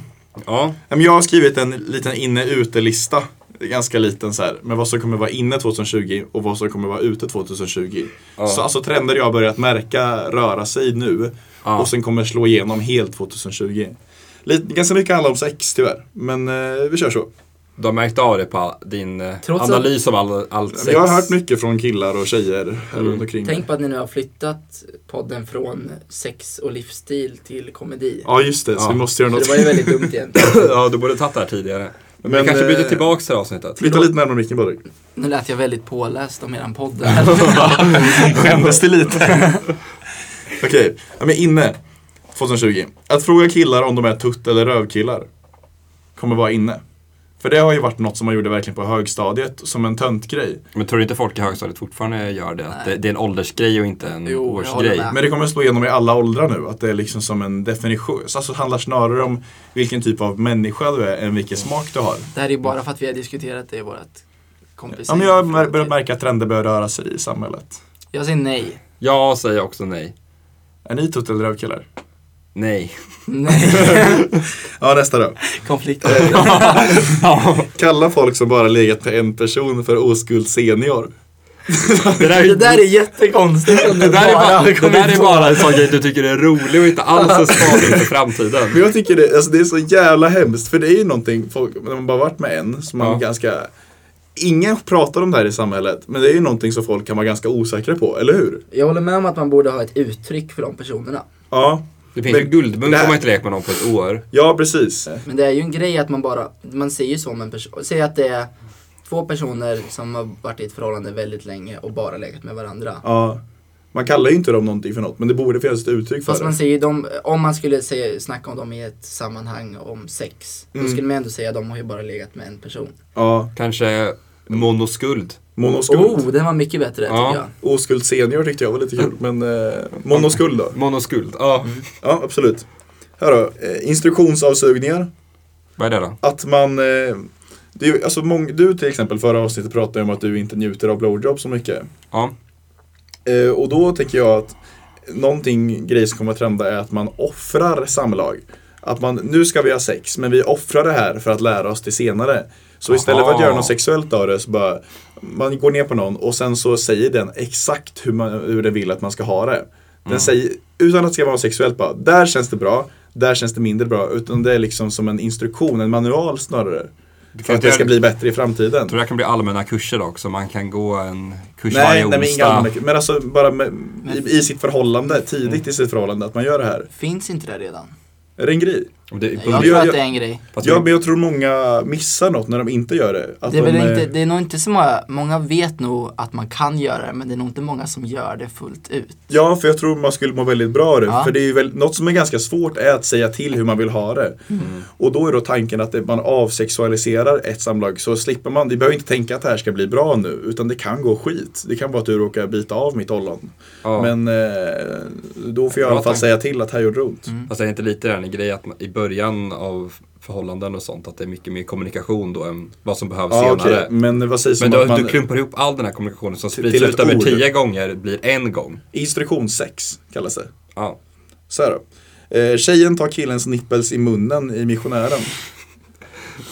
Ja, men Jag har skrivit en liten inne-ute-lista. Ganska liten så här. Men vad som kommer vara inne 2020 och vad som kommer vara ute 2020. Så alltså trender jag har börjat märka röra sig nu. Och sen kommer slå igenom helt 2020. Lite, ganska mycket handlar om sex tyvärr. Men eh, vi kör så. Du har märkt av det på din eh, Trots att- analys av all, allt sex. Mm. Jag har hört mycket från killar och tjejer här runt omkring. Tänk på att ni nu har flyttat podden från sex och livsstil till komedi. Ja just det, så Ja. vi måste göra Så något. det var ju väldigt dumt egentligen. ja, du borde tagit det här tidigare. Men, Men, vi kanske byter eh, tillbaks till det här avsnittet. Flytta lite närmare micken Patrik. Nu lät jag väldigt påläst om eran podd. Skämdes det lite? Okej, ja, men inne 2020. Att fråga killar om de är tutt eller rövkillar kommer vara inne. För det har ju varit något som man gjorde verkligen på högstadiet som en töntgrej. Men tror du inte folk i högstadiet fortfarande gör det? Att det, det är en åldersgrej och inte en Jo, jag håller årsgrej? med. Men det kommer slå igenom i alla åldrar nu att det är liksom som en definition. Så Alltså det handlar snarare om vilken typ av människa du är än vilken smak du har. Det här är ju bara för att vi har diskuterat det i vårt kompis. Ja, men jag har mär- börjat märka att trender börjar röra sig i samhället. Jag säger nej. Jag säger också nej. Är ni tutt eller rövkillar? Nej. Nej. Ja, nästa då. Konflikt. Kalla folk som bara legat med en person för oskuld senior. Det där Det där är jättekonstigt. om Det där, är bara, har det kommit där är på. bara en sån grej du tycker är rolig och inte alls en spaning för framtiden. Men jag tycker det, alltså det är så jävla hemskt för det är ju någonting, folk, när man bara varit med en, som man Ja. ganska Ingen pratar om det här i samhället, men det är ju någonting som folk kan vara ganska osäkra på, eller hur? Jag håller med om att man borde ha ett uttryck för de personerna. Ja, Det finns ju Men- guldmunk Nej. om man inte lekt med någon på ett år. ja precis. Men det är ju en grej att man bara, man ser ju som en person, säg att det är två personer som har varit i ett förhållande väldigt länge och bara legat med varandra. Ja. Man kallar ju inte dem någonting för något, men det borde finnas ett uttryck för Fast man det. säger ju de, om man skulle säga, snacka om dem i ett sammanhang om sex, Mm. då skulle man ändå säga att de har ju bara legat med en person. Ja, Kanske monoskuld. monoskuld. Oh, den var mycket bättre Ja. tycker jag. Oskuld senior tyckte jag var lite kul, men eh, monoskuld då? Monoskuld, ja. Ja, absolut. Här då, eh, instruktionsavsugningar. Vad är det då? att man eh, det är, ju- alltså, mång, du till exempel förra avsnittet pratade ju om att du inte njuter av blowjob så mycket. Ja. Eh, och då tänker jag att någonting grej som kommer att trenda är att man offrar samlag. Att man, nu ska vi ha sex, men vi offrar det här för att lära oss det senare. Så istället för att Aha. göra något sexuellt av det så bara, man går ner på någon och sen så säger den exakt hur, man, hur den vill att man ska ha det. Den säger, utan att det ska vara sexuellt bara, där känns det bra, där känns det mindre bra. Utan det är liksom som en instruktion, en manual snarare. För att det ska bli bättre i framtiden. tror det här kan bli allmänna kurser också. Man kan gå en kurs Nej, varje nej men inga onsdag. allmänna Men alltså bara med, i, i sitt förhållande, tidigt Mm. i sitt förhållande, att man gör det här. Finns inte det redan? Mm. Är det en grej? Och det- Jag tror jag- att det är en grej. fast Ja, vi- men jag tror många missar något när de inte gör det. Att Det är, väl de, inte, eh, det är nog inte så många, många vet nog att man kan göra det men det är nog inte många som gör det fullt ut. Ja, för jag tror man skulle må väldigt bra av det. Ja. För det är ju väl, något som är ganska svårt är att säga till hur man vill ha det. Mm. Och då är då tanken att det- man avsexualiserar ett samlag så slipper man, vi behöver inte tänka att det här ska bli bra nu, utan det kan gå skit. Det kan vara att du råkar bita av mitt ollon. Ja. Men eh, då får jag i alla fall tanke. säga till att här gjorde det ont. Mm. Fast är det inte lite den grejen att man- i början av förhållanden och sånt att det är mycket mer kommunikation då än vad som behövs Ja, okej. senare. Men vad sägs Men om du, att man... du klumpar ihop all den här kommunikationen som Till- sprids till ett ut över ord. tio gånger blir en gång. Instruktionssex kallas det. Ja. Så här då. Eh, tjejen tar killens nippels i munnen i missionären.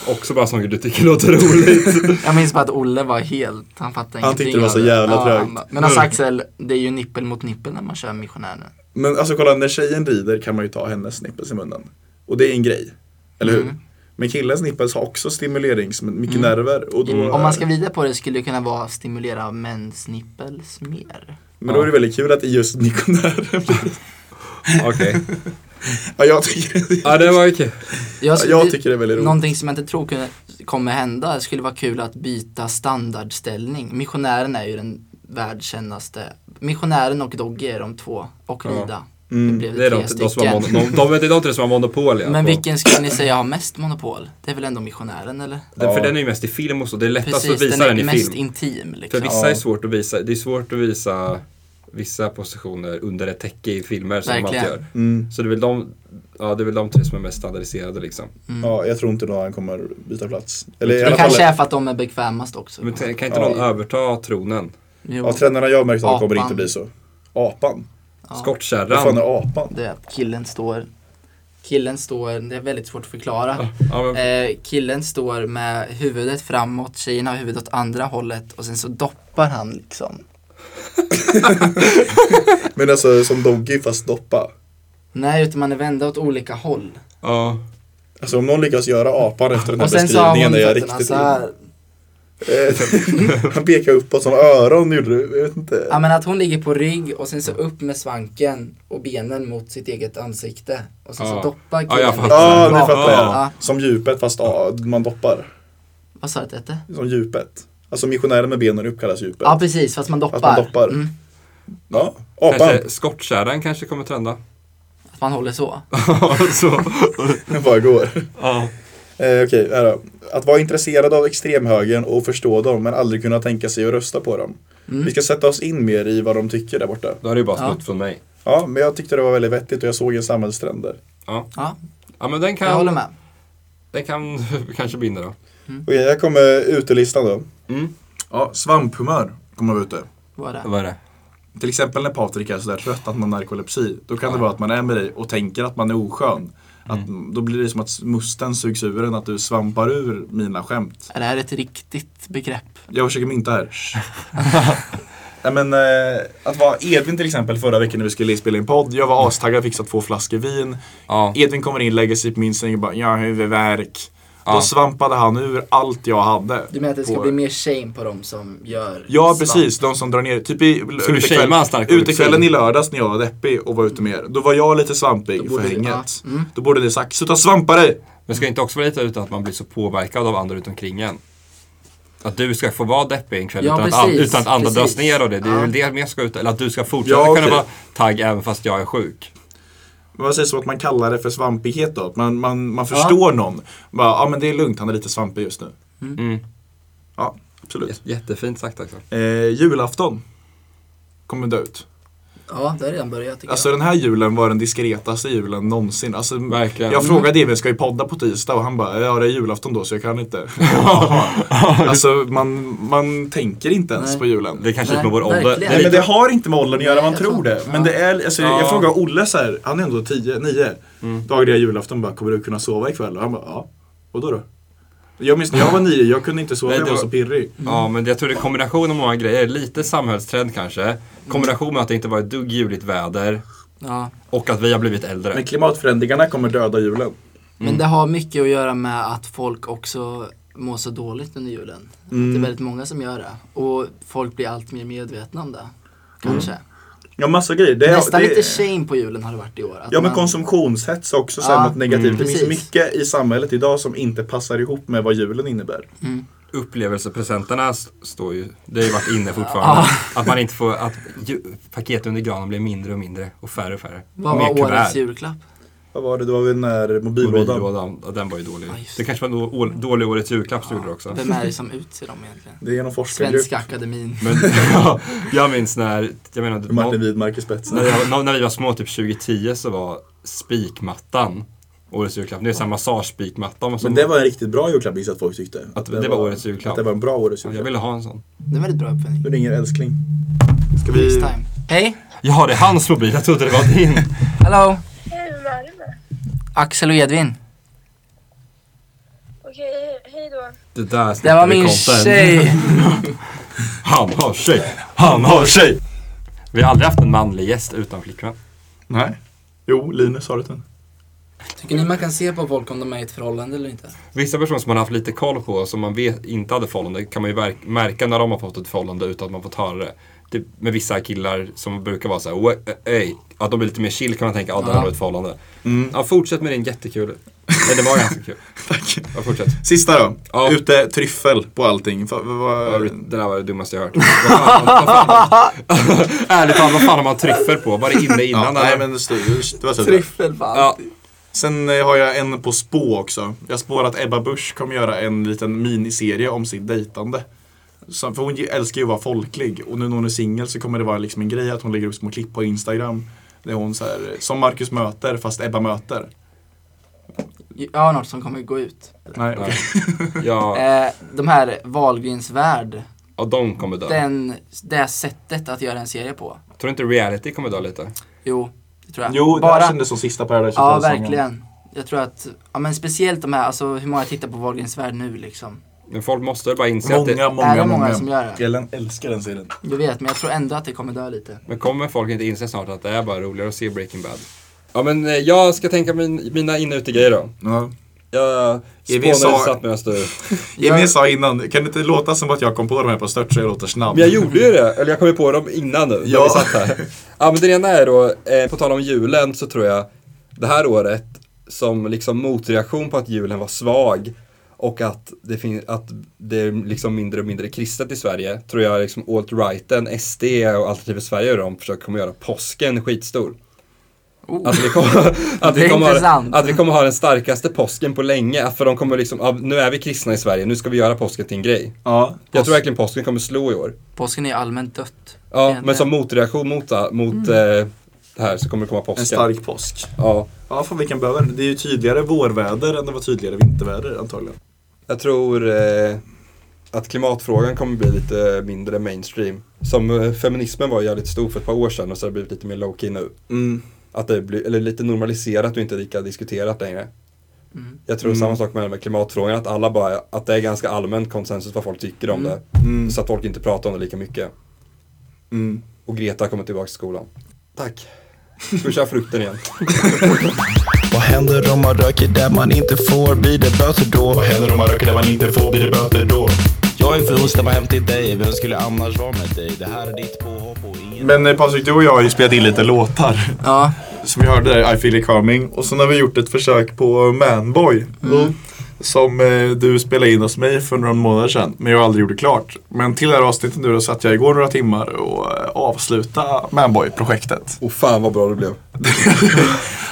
Också bara saker du tycker låter roligt. Jag minns bara att Olle var helt, han fattade Han tyckte ingenting det var så av jävla Ja, trögt. Mm. han bara, Men alltså Axel, det är ju nippel mot nippel när man kör missionären. Men alltså kolla, när tjejen rider kan man ju ta hennes nippels i munnen. Och det är en grej. Eller Mm. hur? Men killens nippels har också stimulerings, mycket nerver. Och då, Mm. Om man ska vrida på det skulle det kunna vara att stimulera mäns nippels mer. Men då är det väldigt kul att det är just missionären. Okej. ja, jag tycker det. Ja, det var ju kul. Ja, jag tycker det är väldigt roligt. Någonting som jag inte tror kunde, kommer hända skulle vara kul att byta standardställning. Missionären är ju den världskändaste. Missionären och Dogge är de två. Och Rida. Mm. det blev Det är tre de, de som stycken. har mon- de, de, det är de tre som har monopol ja, Men på- vilken skulle ni säga har mest monopol? Det är väl ändå missionären eller? Den, för den är ju mest i film och så. Det Alltså, är lättast Precis, att visa den är den, i mest film. intim liksom. För vissa är svårt att visa. Det är svårt att visa vissa positioner under ett täcke i filmer som man Verkligen. alltid gör. Mm. Så det är, väl de, ja, det är väl de tre som är mest standardiserade liksom. Ja, jag tror inte då han kommer byta plats. Eller i Det alla fall, kanske är för att de är bekvämast också. Men t- kan inte någon överta tronen? Jo, ja, tränarna jag har märkt att det kommer Apan. inte bli så. Apan? Vad fan Skottkärran? är apan? det är att killen står, killen står, det är väldigt svårt att förklara. Ja, men, Eh, killen står med huvudet framåt, tjejen har huvudet åt andra hållet och sen så doppar han liksom. Men alltså som Doggy fast doppa. Nej, utan man är vända åt olika håll. ja. Alltså om någon lyckas göra apan efter den här Och sen så har beskrivningen hon är jag fötterna riktigt så här. Eh, Han pekar uppåt som öron gjorde du. Jag vet inte. Ja men att hon ligger på rygg och sen så upp med svanken och benen mot sitt eget ansikte. Och sen Ja. så doppar Ja, killen. liksom. jag fattar. Ja, nu Ja, fattar jag. ja. Som djupet fast ja, man doppar. Vad sa du att det hette? Som djupet. Alltså missionären med benen upp kallas djupet. Ja precis, fast man doppar. Fast man doppar. Mm, Ja, apan. Kanske, skottkärran kanske kommer trenda. att man håller så. så, Den bara går. ja. Eh, Okej, här då. Att vara intresserad av extremhögern och förstå dem men aldrig kunna tänka sig att rösta på dem. Mm. Vi ska sätta oss in mer i vad de tycker där borta. Då är det ju bara snott Ja. från mig. Ja, men jag tyckte det var väldigt vettigt och jag såg en samhällstrend där. Ja. Ja, ja, men den jag håller kan, med. den kan kanske bli inne då. Okej, här kommer utelistan då. Mm. Ja, svamphumör kommer vara ute. Vad är det? Vad är det? Till exempel när Patrik är sådär trött att man har narkolepsi. Då kan det vara att man är med dig och tänker att man är oskön. Att, Mm. Då blir det som att musten sugs ur en, att du svampar ur mina skämt. Är det här ett riktigt begrepp? Jag försöker mynta här. Nej, men, eh, att vara Edvin till exempel förra veckan när vi skulle spela in podd. Jag var astaggad, fixat två flaskor vin. Mm. Ja. Edvin kommer in, lägger sig på min säng och bara “jag har huvudvärk”. Ja. Då svampade han ur allt jag hade. Du menar att det ska På- bli mer shame på dem som gör Ja svamp? precis, de som drar ner. Typ i Ska du shamea hans narkolepsi? utekvällen i lördags när jag var deppig och var ute med er. Då var jag lite svampig i borde du- förhänget. ja, mm. Då borde ni sagt, sluta svampa dig! Men ska inte också vara lite utan att man blir så påverkad av andra runt omkring en? Att du ska få vara deppig en kväll Ja, utan, att, an- precis, utan att andra precis. dras ner av det. Det är Ja. väl det jag ska ut Eller att du ska fortsätta Ja, kunna okej. vara tagg även fast jag är sjuk. Men Vad sägs om att man kallar det för svampighet då? Att Man, man, man förstår någon. Bara, ja men det är lugnt, han är lite svampig just nu. Mm. Ja, absolut. J- Jättefint sagt också. Eh, julafton kommer dö ut. Ja, det har redan börjat tycker Alltså den här julen var den diskretaste julen någonsin. Alltså, Verkligen. jag frågade Emil, ska vi podda på tisdag? Och han bara, ja det är julafton då så jag kan inte. alltså man, man tänker inte ens Nej. på julen. Det kanske Nej, inte med vår ålder. verkligen. Det är Nej men lite- det har inte med åldern att göra, man jag tror tror det. inte. Men det är, alltså, Ja. Mm. jag frågade Olle så här, han är ändå 10, 9. Dagen innan julafton bara, kommer du kunna sova ikväll? Och han bara, ja. Och då då? Jag minns när jag var 9, jag kunde inte sova, Nej, jag det var var- så pirrig. Ja, men jag tror det är en kombination av många grejer. Lite samhällstrend kanske. Kombination med att det inte var ett dugg juligt väder. jag. Ja. Och att vi har blivit äldre. Men klimatförändringarna kommer döda julen. Men det har mycket att göra med att folk också mår så dåligt under julen. Mm. Att Mm. det är väldigt många som gör det. Och folk blir allt mer medvetna om det. Kanske. Ja massa grejer. Det, är- Nästan det, lite shame på julen har det varit i år. Att Ja men man- konsumtionshets också så här, Ja, något negativt. mm, det finns precis. mycket i samhället idag som inte passar ihop med vad julen innebär. Upplevelsepresenterna s- står ju, det har ju varit inne fortfarande. att man inte får, att ju, paket under granen blir mindre och mindre och färre och färre. Vad Mer var kuvert. årets julklapp? Vad var det, det var väl den där mobillådan. Mobillådan, ja, den var ju dålig. Ja, just det kanske var då, å, dålig årets julklapp som gjorde det också. Vem är det som utser dem egentligen? Det är någon forskargrupp. Svenska akademin. Men jag minns när, jag menar, Martin nå- Widmark i spetsen. när, jag, när vi var små, typ 2010, så var spikmattan årets julklapp. Det är samma massagespikmatta. Men det var en riktigt bra julklapp gissar jag att folk tyckte. Att, det var årets julklapp. Att det var en bra årets Jag julklapp. ville ha en sån. Det är en väldigt bra uppfinning. Nu ringer älskling. Ska Next vi... time. Hej! Ja, det är hans mobil. Jag trodde det var din. Hello! Axel och Edvin. Okej, hej då. Det där Det var vi min content. tjej. Han har tjej. Han har tjej. Vi har aldrig haft en manlig gäst utan flickvän. Nej. Jo, Linus har det den. Tycker ni man kan se på folk om de är i ett förhållande eller inte? Vissa personer som man har haft lite koll på, som man vet inte hade förhållande, kan man ju verk- märka när de har fått ett förhållande utan att man fått höra det. Typ med vissa killar som brukar vara så här, "Wha- eh, ey. att de blir lite mer chill kan man tänka, ja, där har du ett förhållande. Ja, fortsätt med din jättekul. Nej, det var ganska kul. Tack. Ja, fortsätt. Sista då. Ja. Ute tryffel på allting. Fa- va- va- Ja, Det där var det dummaste jag hört. Vad fan, vad fan, ärligt talat, vad fan har man tryffel på? Var det inne Ja, innan? nej eller? men det stod- det var så där. Tryffel på allt. ja, Sen eh, har jag en på spå också. Jag spår att Ebba Busch kommer göra en liten miniserie om sitt dejtande. Så, för hon ge- älskar ju att vara folklig och nu när hon är singel så kommer det vara liksom en grej att hon lägger upp små klipp på Instagram. Där hon så här, eh, som Marcus möter fast Ebba möter. Jag har något som kommer gå ut. Nej, okej. ja, Eh, de här Wahlgrens värld. ja, de kommer dö. Den, det här sättet att göra en serie på. Tror du inte reality kommer dö lite? Jo, det tror jag. Jo, det Bara, här kändes som sista Paradise Ja, Hotel-sången. verkligen. Jag tror att, ja men speciellt de här, alltså hur många tittar på Wahlgrens värld nu liksom. Men folk måste väl bara inse att Många, det, är det många, många många. som gör det? Ellen älskar den serien. Jag vet, men jag tror ändå att det kommer dö lite. Men kommer folk inte inse snart att det är bara roligare att se Breaking Bad? Ja men eh, jag ska tänka min, mina in och utegrejer då. Ja. Jag vi sa- spånade satt medan du... Emil sa innan, kan det inte låta som att jag kom på de här på stört så jag låter snabb? Men jag gjorde ju det, eller jag kom ju på dem innan nu, när Ja. vi satt här. Ja men det ena är då, eh, på tal om julen så tror jag det här året som liksom motreaktion på att julen var svag och att det, fin- att det är liksom mindre och mindre kristet i Sverige tror jag liksom alt-righten, SD och Alternativ för Sverige och de försöker kommer göra påsken skitstor. Att vi, kommer, att, Oh. Det vi är kommer ha, intressant. att vi kommer ha den starkaste påsken på länge. Att För de kommer liksom, ja, nu är vi kristna i Sverige, nu ska vi göra påsken till en grej. Ja, Jag tror verkligen påsken kommer slå i år. Påsken är ju allmänt dött. Ja, Egentligen. Mm. men som motreaktion mot, mot eh, det här så kommer det komma påsken. en stark påsk. Ja, Ja, fan vilken behöver det. Det är ju tydligare vårväder än det var tydligare vinterväder antagligen. jag tror eh, att klimatfrågan kommer bli lite mindre mainstream. Som eh, feminismen var jävligt stor för ett par år sedan och så har det blivit lite mer low-key nu. Mm. Att det blir, eller lite normaliserat och inte lika diskuterat längre. Mm. Jag tror samma sak med, med klimatfrågan, att alla bara, att det är ganska allmän konsensus vad folk tycker om Mm. det. Så att folk inte pratar om det lika mycket. Och Greta kommer tillbaka till skolan. Tack. Ska vi köra frukten igen? Vad händer om man röker där man inte får? Blir det böter då? Vad händer om man röker där man inte får? Blir det böter då? Jag är för ostämma hem till dig. Vem skulle annars vara med dig? Det här är ditt påhopp och ingen... Men eh, Patrik, du och jag har ju spelat in lite låtar. Ja, Som vi hörde där, I feel it coming. Och sen har vi gjort ett försök på Manboy. Mm. Mm. Som eh, du spelade in hos mig för några månader sedan. Men jag aldrig gjorde klart. Men till det här avsnittet nu då satt jag igår några timmar och eh, avsluta Manboy-projektet. Och fan vad bra det blev.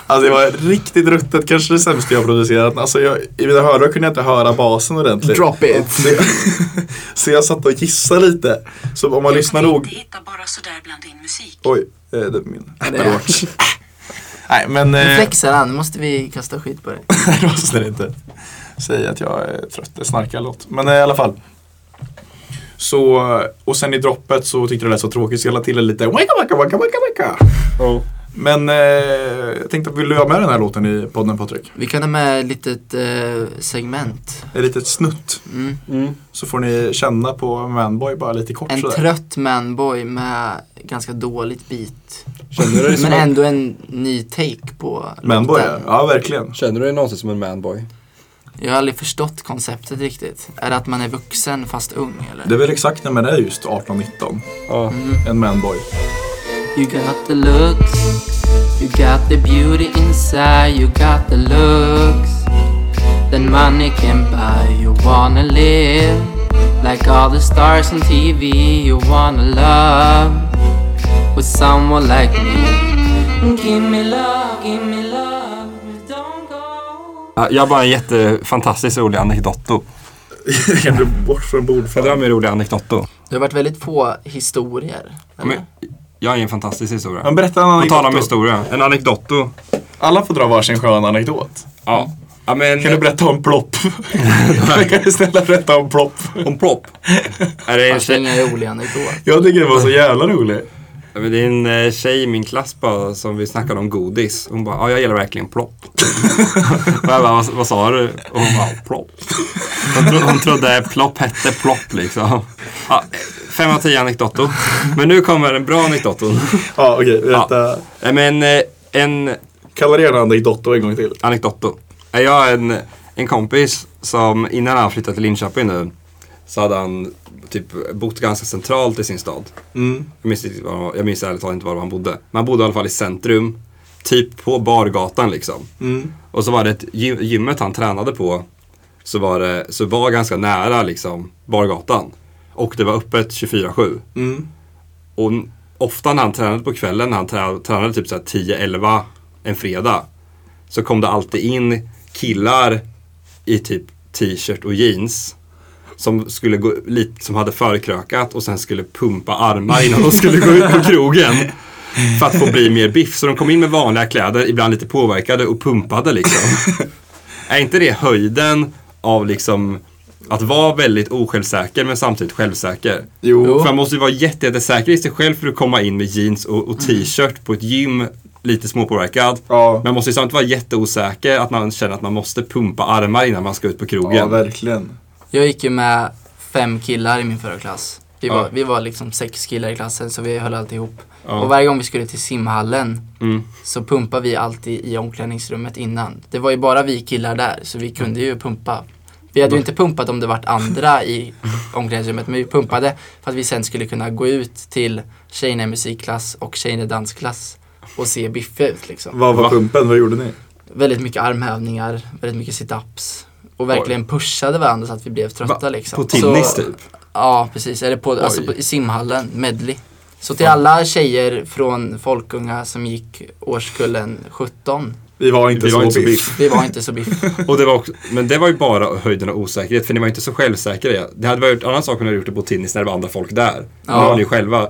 Alltså det var riktigt ruttet, kanske det sämsta jag producerat. Alltså jag, I mina hörlurar kunde jag inte höra basen ordentligt. Drop it! Så jag, så jag satt och gissade lite. Så om man lyssnar nog... Hitta bara sådär bland din musik. Oj, eh, det är min det Apple är- Watch. Nej men... eh, Nu flexar han, nu måste vi kasta skit på dig. Nej, det var så snällt inte. Säga att jag är trött, det snarkar låt. Men eh, i alla fall. Så, eh, och sen i droppet så tyckte jag det lät så tråkigt så jag la till det lite waka waka waka waka waka. Men eh, jag tänkte, vill du ha med den här låten i podden Patrik? Vi kan ha med ett litet eh, segment. Ett litet snutt. Mm. Så får ni känna på Manboy bara lite kort En sådär. trött manboy med ganska dåligt beat. Känner du dig som Men en, ändå en ny take på Manboy, ja. låten. ja verkligen. känner du dig någonsin som en manboy? Jag har aldrig förstått konceptet riktigt. Är det att man är vuxen fast ung eller? Det är väl exakt när man är just 18-19. Ja. En Manboy. You got the looks, you got the beauty inside, you got the looks that money can buy. You wanna live like all the stars on TV, you wanna love with someone like me. Give me love, give me love, don't go. Jag har bara en jättefantastiskt rolig anekdotto. kan du bort från Jag drar bordfällan? med roliga anekdotto. Det har varit väldigt få historier. eller? Men, jag har en fantastisk historia. Men berätta en På tal om anekdot. då. historia. En anekdotto. Alla får dra varsin skön anekdot. Ja. ja men, Kan du berätta om plopp? kan du snälla berätta om plopp? om plopp? Är det, en Fast det är tjej, inga roliga anekdoter. Jag tycker det var så jävla roligt. Ja, men det är en eh, tjej i min klass bara, som vi snackade om godis. Hon bara, ja jag gillar verkligen plopp. och jag bara, vad, vad sa du? Och hon bara, plopp. Hon, tro, hon trodde plopp hette plopp liksom. Ja, fem av tio anekdotor. Men nu kommer en bra anekdotor. Ja okej, berätta. Ja, men eh, en Kalla det gärna anekdotto en gång till. anekdotto. Eh, Jag har en, en kompis som innan han flyttade till Linköping nu så hade han typ bott ganska centralt i sin stad. Jag, minns inte var, jag minns ärligt talat inte var han bodde. Men han bodde i alla fall i centrum, typ på bargatan liksom. Och så var det ett, gy- gymmet han tränade på så var, det, så var ganska nära liksom bargatan. Och det var öppet 24-7. Och n- ofta när han tränade på kvällen, när han trä- tränade typ så här 10-11 en fredag, så kom det alltid in killar i typ t-shirt och jeans som, skulle gå, lite, som hade förkrökat och sen skulle pumpa armar innan de skulle gå ut på krogen. För att få bli mer biff. Så de kom in med vanliga kläder, ibland lite påverkade och pumpade liksom. Är inte det höjden av liksom att vara väldigt osjälvsäker men samtidigt självsäker? Jo. För man måste ju vara jätte- jättesäker i sig själv för att komma in med jeans och, och t-shirt på ett gym lite småpåverkad. Ja. Men man måste ju samtidigt vara jätteosäker att man känner att man måste pumpa armar innan man ska ut på krogen. Ja, verkligen. Jag gick ju med fem killar i min förra klass. Vi var, Ja. vi var liksom sex killar i klassen så vi höll alltid ihop. Ja. Och varje gång vi skulle till simhallen Mm. så pumpade vi alltid i omklädningsrummet innan. Det var ju bara vi killar där så vi kunde ju pumpa. Vi hade ju inte pumpat om det vart andra i omklädningsrummet men vi pumpade för att vi sen skulle kunna gå ut till tjejerna i musikklass och tjejerna i dansklass och se biffiga ut liksom Vad var Va? pumpen? Vad gjorde ni? väldigt mycket armhävningar, väldigt mycket situps och verkligen pushade varandra så att vi blev trötta Va? liksom. På tinnis så, typ. Ja, precis. Eller på, alltså, Oj. på, i simhallen, medley. Så till alla tjejer från Folkunga som gick årskullen 17, Vi var inte Vi så var inte så biff. vi var inte så biffiga. Och det var också, men det var ju bara höjden av osäkerhet för ni var inte så självsäkra. Det hade varit en annan sak om ni hade gjort det på tinnis när det var andra folk där. Nu Ja. Mm. var ni ju själva.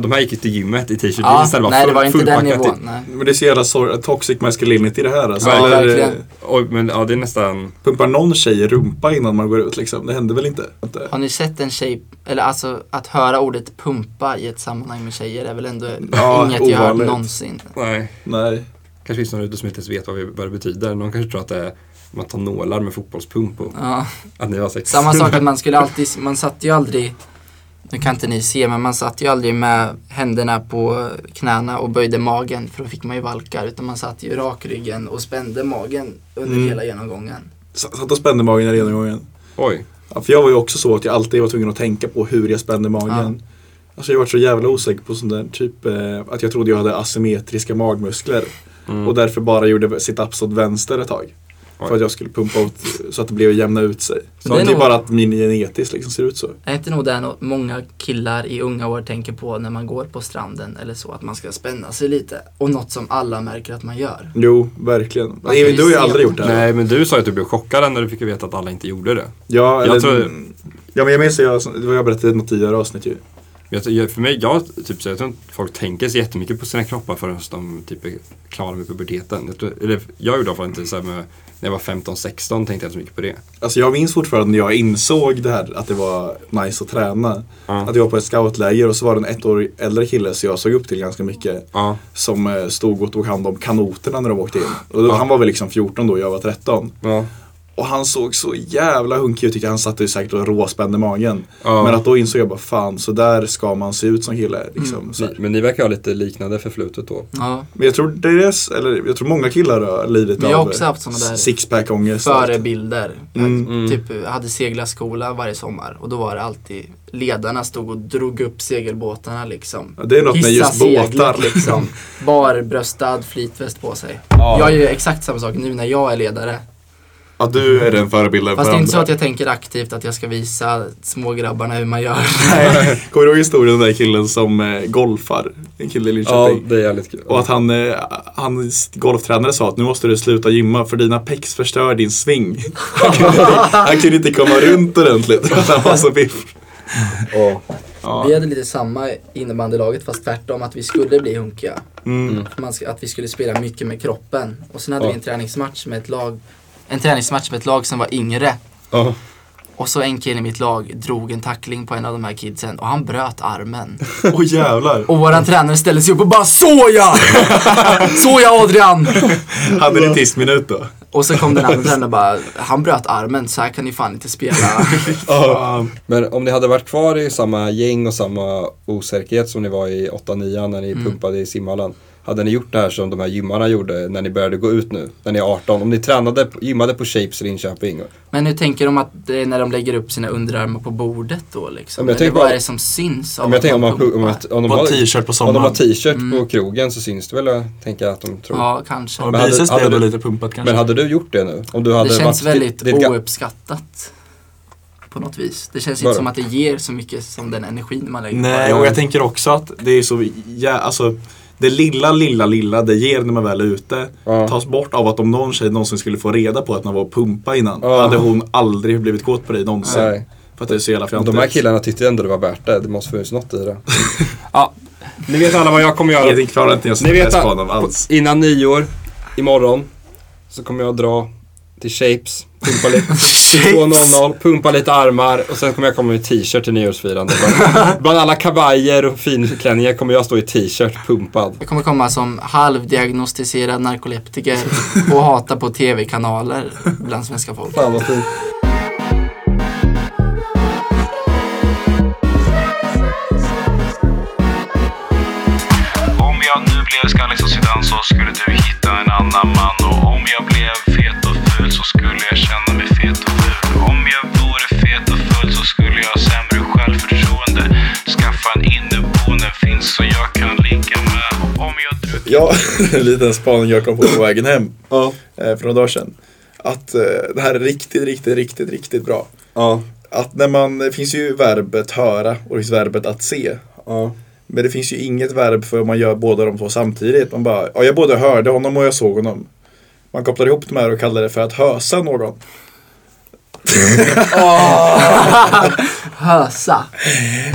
De här gick ju till gymmet i t-shirt ja, jeans när det var nej, det full- var inte den fullpackat i- nivån. Nej. Men det är så jävla sorg, toxic masculinity det här alltså. Ja, Eller, verkligen. eh, Oj, men ja, det är nästan... pumpar någon tjej i rumpa innan man går ut liksom? Det hände väl inte? inte. Har ni sett en tjej, eller alltså att höra ordet pumpa i ett sammanhang med tjejer är väl ändå Ja, inget jag hört ovanligt. någonsin. Nej. Nej. Kanske finns det någon ute som inte ens vet vad, vi, vad det betyder. Någon kanske tror att det är man tar nålar med fotbollspump och Ja. att ni var sex. Samma sak att man skulle alltid, man satt ju aldrig, nu kan inte ni se, men man satt ju aldrig med händerna på knäna och böjde magen för då fick man ju valkar. Utan man satt ju rak ryggen och spände magen under hela genomgången. S- Satt och spände magen hela genomgången. Oj. Ja, för jag var ju också så att jag alltid var tvungen att tänka på hur jag spände magen. Alltså jag var så jävla osäker på sån där typ eh, att jag Mm. trodde jag hade asymmetriska magmuskler. Och därför bara gjorde situps åt vänster ett tag. För att jag skulle pumpa ut så att det blev jämna ut sig. Så Det det är är nog- bara att min genetiskt liksom ser ut så. Är inte nog det något många killar i unga år tänker på när man går på stranden eller så, att man ska spänna sig lite? Och något som alla märker att man gör. Jo, verkligen. Man kan Emil, du har ju se aldrig gjort det här. Nej, men du sa ju att du blev chockad när du fick veta att alla inte gjorde det. Ja, eller, jag tror, ja, men jag minns att jag, det var jag berättade i något tidigare avsnitt ju. jag, jag- för mig, jag, typ, så jag tror inte folk tänker så jättemycket på sina kroppar förrän de typ, är klara med puberteten. Jag, tror, eller, jag gjorde i alla fall inte så här med, när jag var 15-16 tänkte jag inte så mycket på det. Alltså jag minns fortfarande när jag insåg det här att det var nice att träna. Att jag var på ett scoutläger och så var det en ett år äldre kille som jag såg upp till ganska mycket. Som eh, stod och tog hand om kanoterna när de åkte in. Och då, Han var väl liksom 14 då, jag var 13. Och han såg så jävla hunkig ut, tyckte jag. han satt ju säkert och råspände magen. Ja. Mm. Men att då insåg jag bara fan, så där ska man se ut som kille. Liksom, så här. Men ni verkar ha lite liknande förflutet då. Ja. Men jag tror deras, eller jag tror många killar har lidit Men jag har av också haft såna där sixpack-ångest. Förebilder. Mm. Jag, Typ jag hade seglarskola varje sommar och då var det alltid ledarna stod och drog upp segelbåtarna liksom. Ja, det är något med just seglet, båtar. liksom. Barbröstad, flytväst på sig. Ja. Jag gör exakt samma sak nu när jag är ledare. Ja, du är den förebilden Fast för det är inte så andra. att jag tänker aktivt att jag ska visa smågrabbarna hur man gör. Nej. Kommer du ihåg historien om den där killen som eh, golfar? En kille i Linköping. det är jävligt kul. Och att han, eh, hans golftränare sa att nu måste du sluta gymma för dina pecs förstör din sving. Han kunde inte- han kunde inte komma runt ordentligt för att han var så biff. Ja. Vi hade lite samma innebandylaget fast tvärtom att vi skulle bli hunkiga. Mm. Man ska, att vi skulle spela mycket med kroppen. Och sen hade Ja. vi en träningsmatch med ett lag En träningsmatch med ett lag som var yngre. Ja. Och så en kille i mitt lag drog en tackling på en av de här kidsen och han bröt armen. Åh jävlar. Och våran tränare ställde sig upp och bara såja! Såja Adrian! Hade ni tissminut då? Och så kom den andra tränaren och bara, han bröt armen, så här kan ni fan inte spela. Men om ni hade varit kvar i samma gäng och samma osäkerhet som ni var i 8-9 när ni Mm. pumpade i simhallen. Hade ni gjort det här som de här gymmarna gjorde när ni började gå ut nu, när ni är 18? Om ni tränade, gymmade på Shapes i Linköping. Men hur tänker de att det är när de lägger upp sina underarmar på bordet då liksom? Ja, men jag Eller tänker vad bara- är det som syns Ja, av men jag tänker om, att man, om, pumpar? att- om de På har t-shirt på Om de har sommaren. t-shirt på Mm. krogen så syns det väl, jag tänker att de tror. Ja, kanske. Och Men hade- biceps hade blev väl du- lite pumpat kanske. Men hade du gjort det nu? Om du hade det känns varit, väldigt ditt- ditt ga- ouppskattat. På något vis. Det känns Vadå? inte som att det ger så mycket som den energin man lägger Nej, på och jag tänker också att det är så, ja, alltså det lilla, lilla, lilla det ger när man väl är ute Ja. tas bort av att om någon tjej någonsin skulle få reda på att man var och pumpa innan Ja. hade hon aldrig blivit kåt på dig någonsin. Nej. För att det är så jävla Men fjantigt. De här killarna tyckte ändå det var värt det. Det måste finnas något i det. Ni vet alla vad jag kommer göra. Edvin klarar inte ens Ni att vet läsa på att- honom alls. Innan nyår, imorgon, så kommer jag dra till Shapes, pumpa lite, till 2.00, pumpa lite armar och sen kommer jag komma med t-shirt till nyårsfirande. Bland- Bland alla kavajer och finklänningar kommer jag stå i t-shirt, pumpad. Jag kommer komma som halvdiagnostiserad narkoleptiker och hata på tv-kanaler bland svenska folk. Fan vad fint. Om jag nu blev skallig som Zidane så skulle du hitta en annan man Och om jag blev fet och ful så skulle jag känna mig fet och ful Om jag vore fet och ful så skulle jag ha sämre självförtroende Skaffa en inneboende finns så jag kan ligga med Och om jag druckit Ja, en liten spaning jag kom på på vägen hem eh, för några dagar sedan. Att eh, det här är riktigt, riktigt, riktigt, riktigt bra. Ja. Att när man, det finns ju verbet höra och det finns verbet att se. Ja. Men det finns ju inget verb för om man gör båda de två samtidigt. Man bara, ja jag både hörde honom och jag såg honom. Man kopplar ihop de här och kallar det för att hösa någon. Hösa.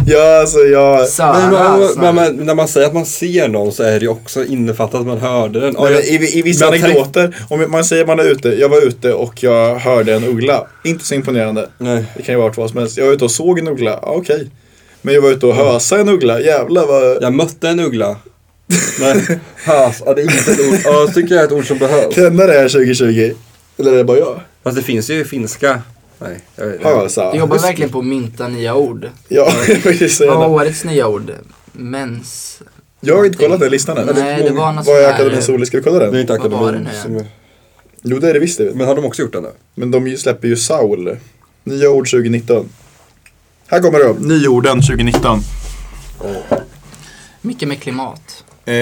Ja, alltså jag... Men, Söra. man, Söra. men, men när man säger att man ser någon så är det ju också innefattat att man hörde den. Ja, Nej, jag- men i, I vissa men jag tänk- anekdoter, om man säger man är ute, jag var ute och jag hörde en uggla. Inte så imponerande. Nej. Det kan ju vara vad som helst. Jag var ute och såg en uggla, ja, okej. Men jag var ute och hösa en uggla, jävlar vad... Jag mötte en uggla. Nej, hös. Ja, det är inte ett ord. Ja, tycker jag är ett ord som behövs. Trendar det här 2020? Eller är det bara jag? Fast det finns ju i finska. Nej, jag vet inte. Hösa. Jag jobbar verkligen på att mynta nya ord. Ja, jag vill ju säga Vad var det. årets nya ord? Mens... Jag har inte kollat den listan än. Nej, det var något Vad är sånt där- Akademins ord? Ska vi kolla Det är den? inte Vad var akademin det nu? som är... Jo, det är det visst. Det vet. jag. Men har de också gjort det nu? Men de ju- släpper ju Saul. Nya ord 2019. Här kommer de. Nyorden 2019. Mycket med klimat. Eh,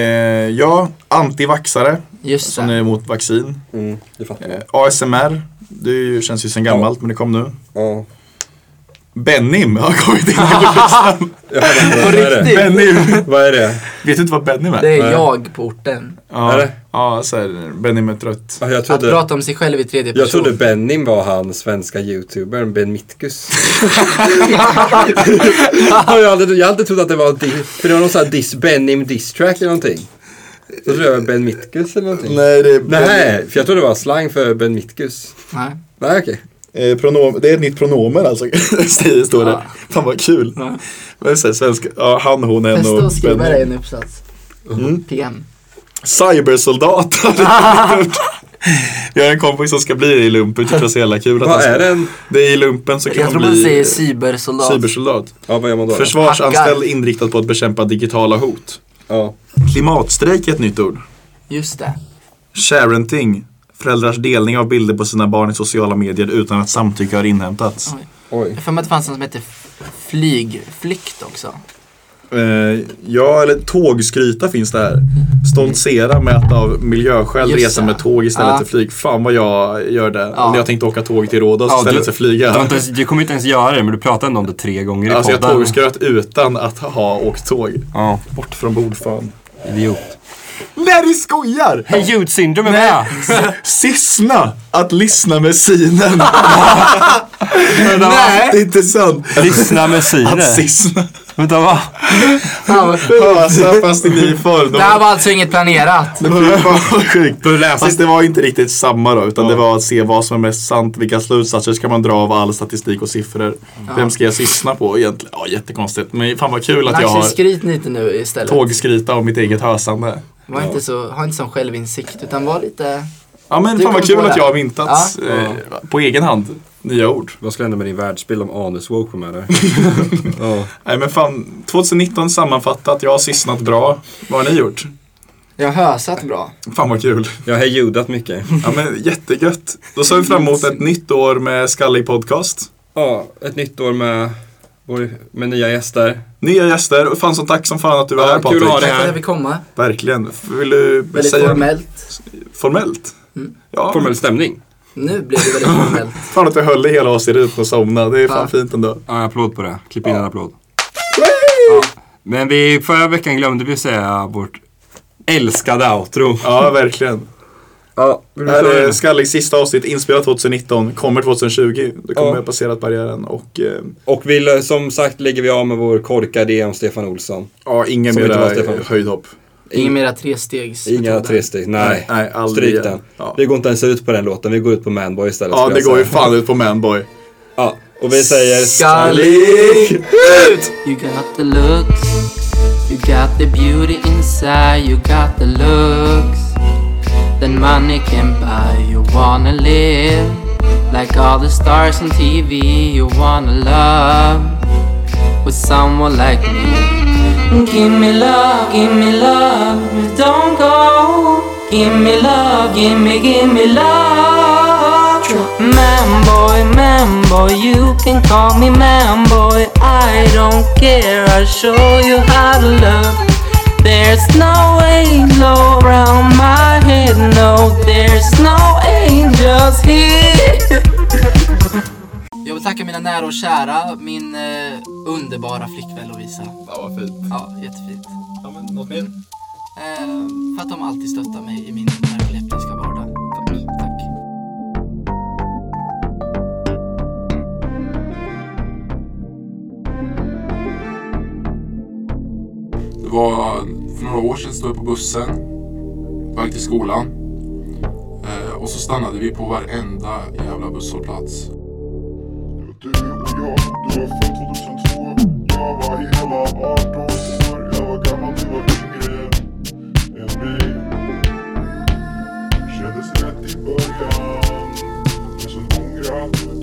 ja, antivaxare. Just som det. är emot vaccin. Mm, det fattar jag. Eh, ASMR. Det är ju- känns ju sen gammalt men det kom nu. Ja. Benim har kommit in på listan. Jag fattar På inte, vad är det? riktigt? Benim. Vad är det? Vet du inte vad Benim är? Det är jag på orten. ja, är det? Ja, så här, Benim är trött. Ja, jag Att trodde, prata om sig själv i tredje person. jag trodde Bennim var han svenska youtubern Ben Mitkus. Ja, jag, hade, jag hade trott att det var di- för det var någon sån här diss, Bennim distrack eller någonting. Så trodde jag det var Ben Mitkus eller någonting. Nej, det är Nej, för jag trodde det var slang för Ben Mitkus. Nej. Nej, okej. Eh, pronom- det är ett nytt pronomen alltså, Stig, står det. Fan vad kul. Ja. Men så här, svenska, ja, han, hon, hen Testa och att skriva Benny. det i en uppsats. Mm. PM. Cybersoldat. Jag har en kompis som ska bli det i lumpen, tycker det är så jävla kul. att han Vad ska- är den? Det är i lumpen så kan Jag tror man man bli säger cybersoldat. cybersoldat. Ja, vad gör man då? Försvarsanställd Hackar. inriktad på att bekämpa digitala hot. ja. Klimatstrejk är ett nytt ord. Just det. Sharenting. Föräldrars delning av bilder på sina barn i sociala medier utan att samtycke har inhämtats. Oj. Oj. Jag för mig att det fanns någon som hette f- flygflykt också. Eh, ja, eller tågskryta finns det här. Stoltsera med att av miljöskäl Just resa det. med tåg istället Ja. för flyg. Fan vad jag gör det. Ja. Om jag tänkte åka tåg till Rhodos Ja, istället du- för flyga. Du, har inte ens, du kommer inte ens göra det, men du pratade ändå om det tre gånger i Alltså jag podden. tågskröt utan att ha åkt tåg. Ja, Bort från bord fan. idiot. Nej du skojar! Hej, ljudsyndrom är med! Sissna! Att lyssna med synen. Vänta, va? Nej, det är inte sant. Lyssna med syne. Att sissna. Vänta, va? Hösa fast i ny form. Det här var alltså inget planerat. Det var fan vad sjukt. Fast det var inte riktigt samma då, utan det var att se vad som är mest sant, vilka slutsatser ska man dra av all statistik och siffror. Vem ska jag sissna på egentligen? Ja, jättekonstigt. Men fan vad kul att jag Laxen, har skryt lite nu istället. tågskrita om mitt eget hösande. Var inte så, ha inte sån självinsikt utan var lite... Ja men Du fan vad kom kul på att det. jag har myntat Ja. eh, på egen hand nya ord. Vad skulle hända med din världsbild om anuswoke kom med där? Nej men fan, 2019 sammanfattat, jag har sissnat bra. Vad har ni gjort? Jag har hösat bra. Fan vad kul. Jag har judat mycket. Ja men jättegött. Då ser vi fram emot ett nytt år med Skallig Podcast. Ja, ett nytt år med, vår- med nya gäster. Nya gäster, och fan som tack som fan att du var Ja, här kul att Patrik. ha Tack dig för här. att jag fick komma. Verkligen. Vill du Väldigt säga formellt. formellt? Mm. Ja, Formell stämning. Nu blev det väldigt formellt. fan att jag höll i hela avsnittet och somnade. Det är fan Ja. fint ändå. Ja, en applåd på det. Klipp in en applåd. Ja. Men vi, förra veckan glömde vi säga vårt älskade outro. Ja, verkligen. Ja, Det här är Skalligs sista avsnitt, inspelat 2019, kommer 2020. Då kommer Ja. vi ha passerat barriären och eh, Och vill, som sagt lägger vi av med vår korkade idé om Stefan Olsson. ja, inga Som inte var mer eh, Stefan. höjdhopp. Inga mera trestegs. Inga tre steg. Nej. Nej, aldrig. Stryk den. Ja. Vi går inte ens ut på den låten. Vi går ut på Manboy istället. Ja, skulle det jag går ju säga. fan ut på Manboy. Ja, och vi säger Skallig! Ut! You got the looks, you got the beauty inside, you got the looks that money can buy. You wanna live like all the stars on TV, you wanna love with someone like me. Give me love, give me love, don't go. Give me love, give me, give me love. Man boy, man boy, you can call me man boy. I don't care, I'll show you how to love. There's no halo around my head, no, there's no angels here. Jag vill tacka mina nära och kära, min eh, underbara flickvän Lovisa. Ja, vad fint. Ja, jättefint. Ja, men något mer? Eh, för att de alltid stöttar mig i min narkoleptiska vardag. Tack. Det var för några år sedan stod jag på bussen på väg till skolan. Eh, och så stannade vi på varenda jävla busshållplats. Du och jag, du var född 2002. Jag var hela 18 år. Jag var gammal, du var yngre än mig. Kändes rätt i början, men som ångrat